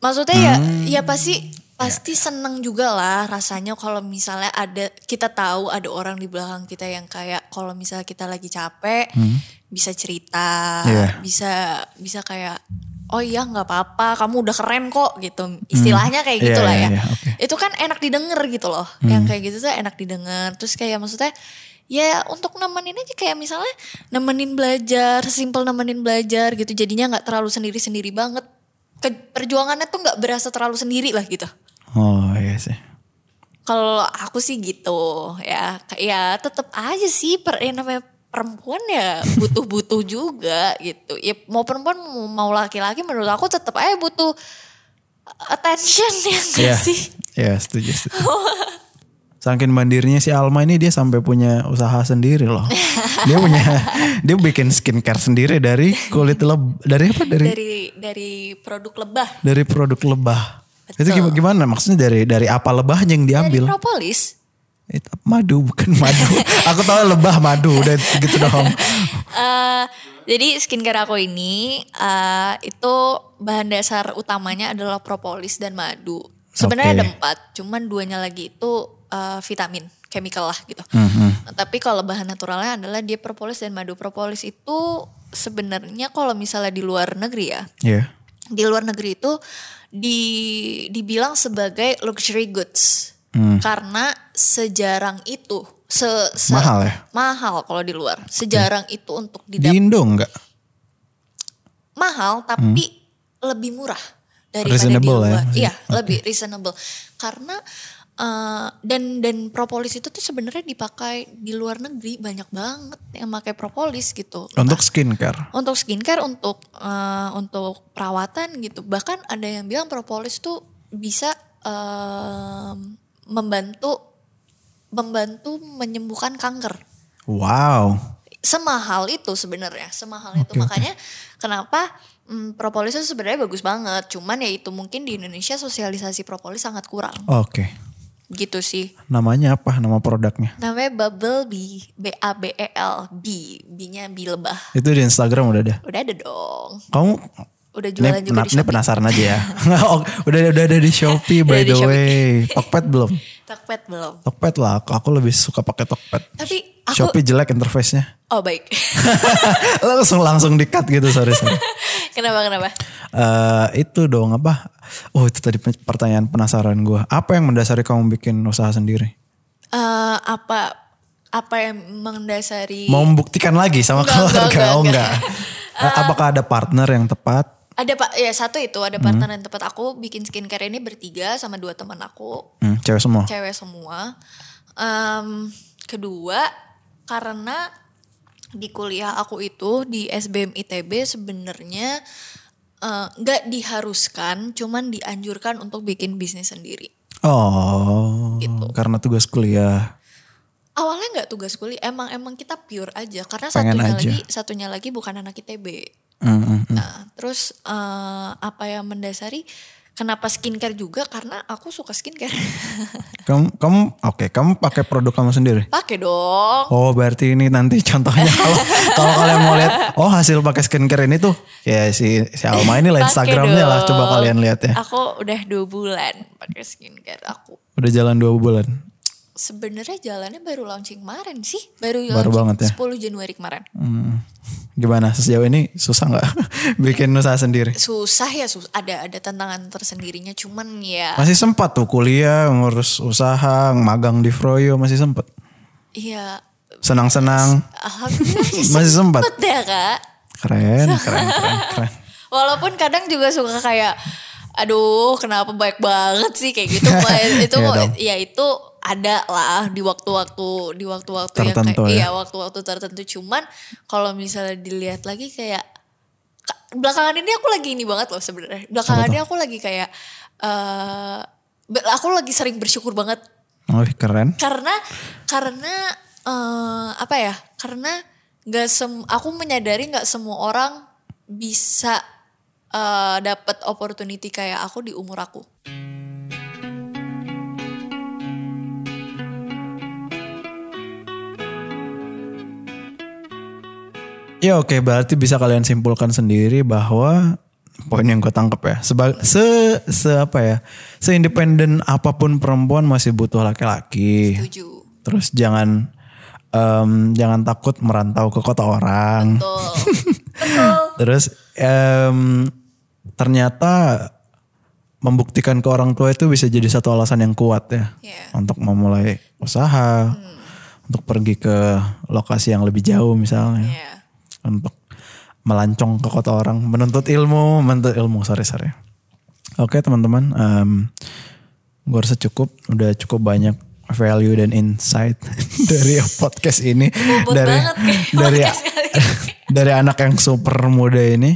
Speaker 3: Maksudnya ya ya pasti pasti seneng juga lah rasanya kalau misalnya ada kita tahu ada orang di belakang kita yang kayak kalau misalnya kita lagi capek bisa cerita,
Speaker 1: Iya.
Speaker 3: bisa bisa kayak oh iya nggak apa-apa kamu udah keren kok gitu istilahnya kayak
Speaker 1: Iya,
Speaker 3: gitu lah
Speaker 1: iya,
Speaker 3: ya
Speaker 1: iya, oke. Hmm.
Speaker 3: itu kan enak didengar gitu loh yang kayak gitu tuh enak didengar terus kayak maksudnya ya untuk nemenin aja kayak misalnya nemenin belajar simple nemenin belajar gitu jadinya nggak terlalu sendiri sendiri banget Ke- perjuangannya tuh nggak berasa terlalu sendiri lah gitu
Speaker 1: Oh iya sih.
Speaker 3: kalau aku sih gitu ya Ka- ya tetap aja sih per ya namanya perempuan ya butuh-butuh juga gitu ya mau perempuan mau- mau laki-laki menurut aku tetap aja butuh attention ya nggak
Speaker 1: Iya.
Speaker 3: sih
Speaker 1: Iya setuju. setuju. Saking mandirinya si Alma ini dia sampai punya usaha sendiri loh. Dia punya dia bikin skincare sendiri dari kulit leb dari apa dari dari,
Speaker 3: dari dari produk lebah
Speaker 1: produk lebah. Itu
Speaker 3: Betul.
Speaker 1: gimana, gimana? Maksudnya dari dari apa lebahnya yang
Speaker 3: dari
Speaker 1: diambil?
Speaker 3: propolis
Speaker 1: Itu madu bukan madu. Aku tahu lebah madu udah gitu doang.
Speaker 3: Eh, jadi skincare aku ini eh, itu bahan dasar utamanya adalah propolis dan madu sebenarnya
Speaker 1: Oke.
Speaker 3: ada empat cuman duanya lagi itu eh, vitamin chemical lah gitu
Speaker 1: Mm-hmm.
Speaker 3: tapi kalau bahan naturalnya adalah dia propolis dan madu propolis itu sebenarnya kalau misalnya di luar negeri ya
Speaker 1: Iya.
Speaker 3: di luar negeri itu di dibilang sebagai luxury goods
Speaker 1: Hmm.
Speaker 3: karena sejarang itu se, se-
Speaker 1: Mahal ya?
Speaker 3: mahal kalau di luar sejarang itu untuk
Speaker 1: Di
Speaker 3: didapat
Speaker 1: Indo enggak?
Speaker 3: mahal tapi lebih murah
Speaker 1: Hmm.
Speaker 3: daripada
Speaker 1: Reasonable ya,
Speaker 3: di luar
Speaker 1: maksudnya.
Speaker 3: iya lebih reasonable karena eh, dan dan propolis itu tuh sebenarnya dipakai di luar negeri banyak banget yang pakai propolis gitu
Speaker 1: Untuk skincare.
Speaker 3: untuk skincare untuk eh, untuk perawatan gitu bahkan ada yang bilang propolis tuh bisa em, membantu membantu menyembuhkan kanker.
Speaker 1: Wow.
Speaker 3: Semahal itu sebenarnya, semahal
Speaker 1: Oke,
Speaker 3: itu
Speaker 1: oke.
Speaker 3: makanya kenapa mm, propolis itu sebenarnya bagus banget. Cuman ya itu mungkin di Indonesia sosialisasi propolis sangat kurang.
Speaker 1: Oke.
Speaker 3: Gitu sih.
Speaker 1: Namanya apa? Nama produknya?
Speaker 3: Namanya Bubble Bee, B A B E L B, B-nya bee lebah.
Speaker 1: Itu di Instagram udah ada.
Speaker 3: Udah ada dong.
Speaker 1: Kamu
Speaker 3: Udah jualan
Speaker 1: ini, pena-
Speaker 3: juga di
Speaker 1: ini
Speaker 3: Shopee.
Speaker 1: penasaran aja ya. Oh, udah udah ada di Shopee by
Speaker 3: Udah di
Speaker 1: the
Speaker 3: Shopee.
Speaker 1: way. Tokped belum?
Speaker 3: Tokped belum.
Speaker 1: Tokped lah. Aku, aku lebih suka pakai Tokped.
Speaker 3: Tapi aku
Speaker 1: Shopee jelek interface-nya.
Speaker 3: oh baik.
Speaker 1: langsung langsung di-cut gitu, sorry sorry.
Speaker 3: kenapa kenapa?
Speaker 1: Eh, itu dong apa? Oh itu tadi pe- pertanyaan penasaran gue. Apa yang mendasari kamu bikin usaha sendiri?
Speaker 3: Eh, apa apa yang mendasari
Speaker 1: Mau membuktikan lagi sama
Speaker 3: Enggak,
Speaker 1: keluarga?
Speaker 3: enggak,
Speaker 1: oh
Speaker 3: enggak.
Speaker 1: enggak. Eh, Apakah ada partner yang tepat?
Speaker 3: ada pak ya satu itu ada partner yang tepat aku bikin skincare ini bertiga sama dua teman aku
Speaker 1: Hmm, cewek semua.
Speaker 3: cewek semua. Em, kedua, karena di kuliah aku itu di SBM ITB sebenarnya eh, nggak diharuskan, cuman dianjurkan untuk bikin bisnis sendiri.
Speaker 1: Oh,
Speaker 3: Gitu.
Speaker 1: karena tugas kuliah.
Speaker 3: Awalnya nggak tugas kuliah, emang emang kita pure aja karena
Speaker 1: Pengen
Speaker 3: satunya
Speaker 1: aja.
Speaker 3: lagi satunya lagi bukan anak ITB.
Speaker 1: Hmm, hmm, hmm.
Speaker 3: Nah, terus eh, apa yang mendasari kenapa skincare juga karena aku suka skincare.
Speaker 1: Kamu, kamu, oke, kamu pakai produk kamu sendiri.
Speaker 3: Pakai dong.
Speaker 1: Oh, berarti ini nanti contohnya kalau kalau kalian mau lihat, oh hasil pakai skincare ini tuh, ya si si Alma ini lah
Speaker 3: Pakai
Speaker 1: Instagramnya lah, coba
Speaker 3: dong.
Speaker 1: kalian lihat ya.
Speaker 3: Aku udah dua bulan pakai skincare aku.
Speaker 1: Udah jalan dua bulan.
Speaker 3: Sebenarnya jalannya baru launching kemarin sih, baru,
Speaker 1: Baru
Speaker 3: launching
Speaker 1: banget ya.
Speaker 3: 10 Januari kemarin.
Speaker 1: Hmm. Gimana sejauh ini susah nggak bikin usaha sendiri?
Speaker 3: Susah ya, sus ada ada tantangan tersendirinya. Cuman ya,
Speaker 1: Masih sempat tuh kuliah, ngurus usaha, magang di Froyo masih sempat.
Speaker 3: ya
Speaker 1: Senang-senang,
Speaker 3: alhamdulillah sih
Speaker 1: masih sempat.
Speaker 3: sempet ya kak.
Speaker 1: Keren, keren, keren, keren.
Speaker 3: Walaupun kadang juga suka kayak, aduh kenapa baik banget sih kayak gitu. Pak. itu
Speaker 1: Iya dong.
Speaker 3: ya itu ada lah di waktu-waktu di waktu-waktu yang kayak
Speaker 1: Tertentu ya.
Speaker 3: iya waktu-waktu tertentu. Cuman kalau misalnya dilihat lagi kayak ka- belakangan ini aku lagi ini banget loh sebenarnya. Belakangan ini aku lagi kayak eh be- aku lagi sering bersyukur banget
Speaker 1: Oh, keren.
Speaker 3: karena karena eh, apa ya karena nggak sem aku menyadari nggak semua orang bisa eh, dapat opportunity kayak aku di umur aku
Speaker 1: Ya oke, berarti bisa kalian simpulkan sendiri bahwa poin yang gue tangkap ya, seba- se se apa ya, seindependen apapun perempuan masih butuh laki-laki.
Speaker 3: tujuh
Speaker 1: Terus jangan em, jangan takut merantau ke kota orang.
Speaker 3: tuh betul
Speaker 1: Terus em, ternyata membuktikan ke orang tua itu bisa jadi satu alasan yang kuat ya
Speaker 3: Iya.
Speaker 1: untuk memulai usaha, untuk pergi ke lokasi yang lebih jauh misalnya
Speaker 3: ya
Speaker 1: untuk melancong ke kota orang, menuntut ilmu, menuntut ilmu, sorry sorry. Oke teman-teman, gue rasa cukup, udah cukup banyak value dan insight dari podcast ini,
Speaker 3: Bobot
Speaker 1: dari
Speaker 3: banget kayak
Speaker 1: dari
Speaker 3: podcast kali ini.
Speaker 1: dari anak yang super muda ini.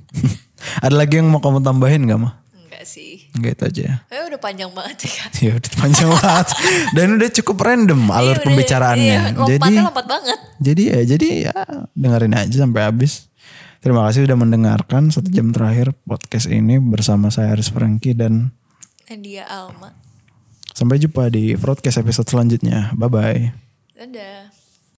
Speaker 1: Ada lagi yang mau kamu tambahin gak mah?
Speaker 3: enggak sih
Speaker 1: Gitu aja. ya.
Speaker 3: Eh, udah panjang banget sih kan
Speaker 1: Ya udah panjang banget dan udah cukup random alur
Speaker 3: Iya, udah-
Speaker 1: pembicaraannya.
Speaker 3: iya,
Speaker 1: Jadi
Speaker 3: lompatnya lompat banget
Speaker 1: jadi ya, jadi ya dengerin aja sampai habis. Terima kasih sudah mendengarkan satu jam terakhir podcast ini bersama saya Aris Franky dan
Speaker 3: Nadia Alma
Speaker 1: sampai jumpa di broadcast episode selanjutnya. Bye bye.
Speaker 3: dadah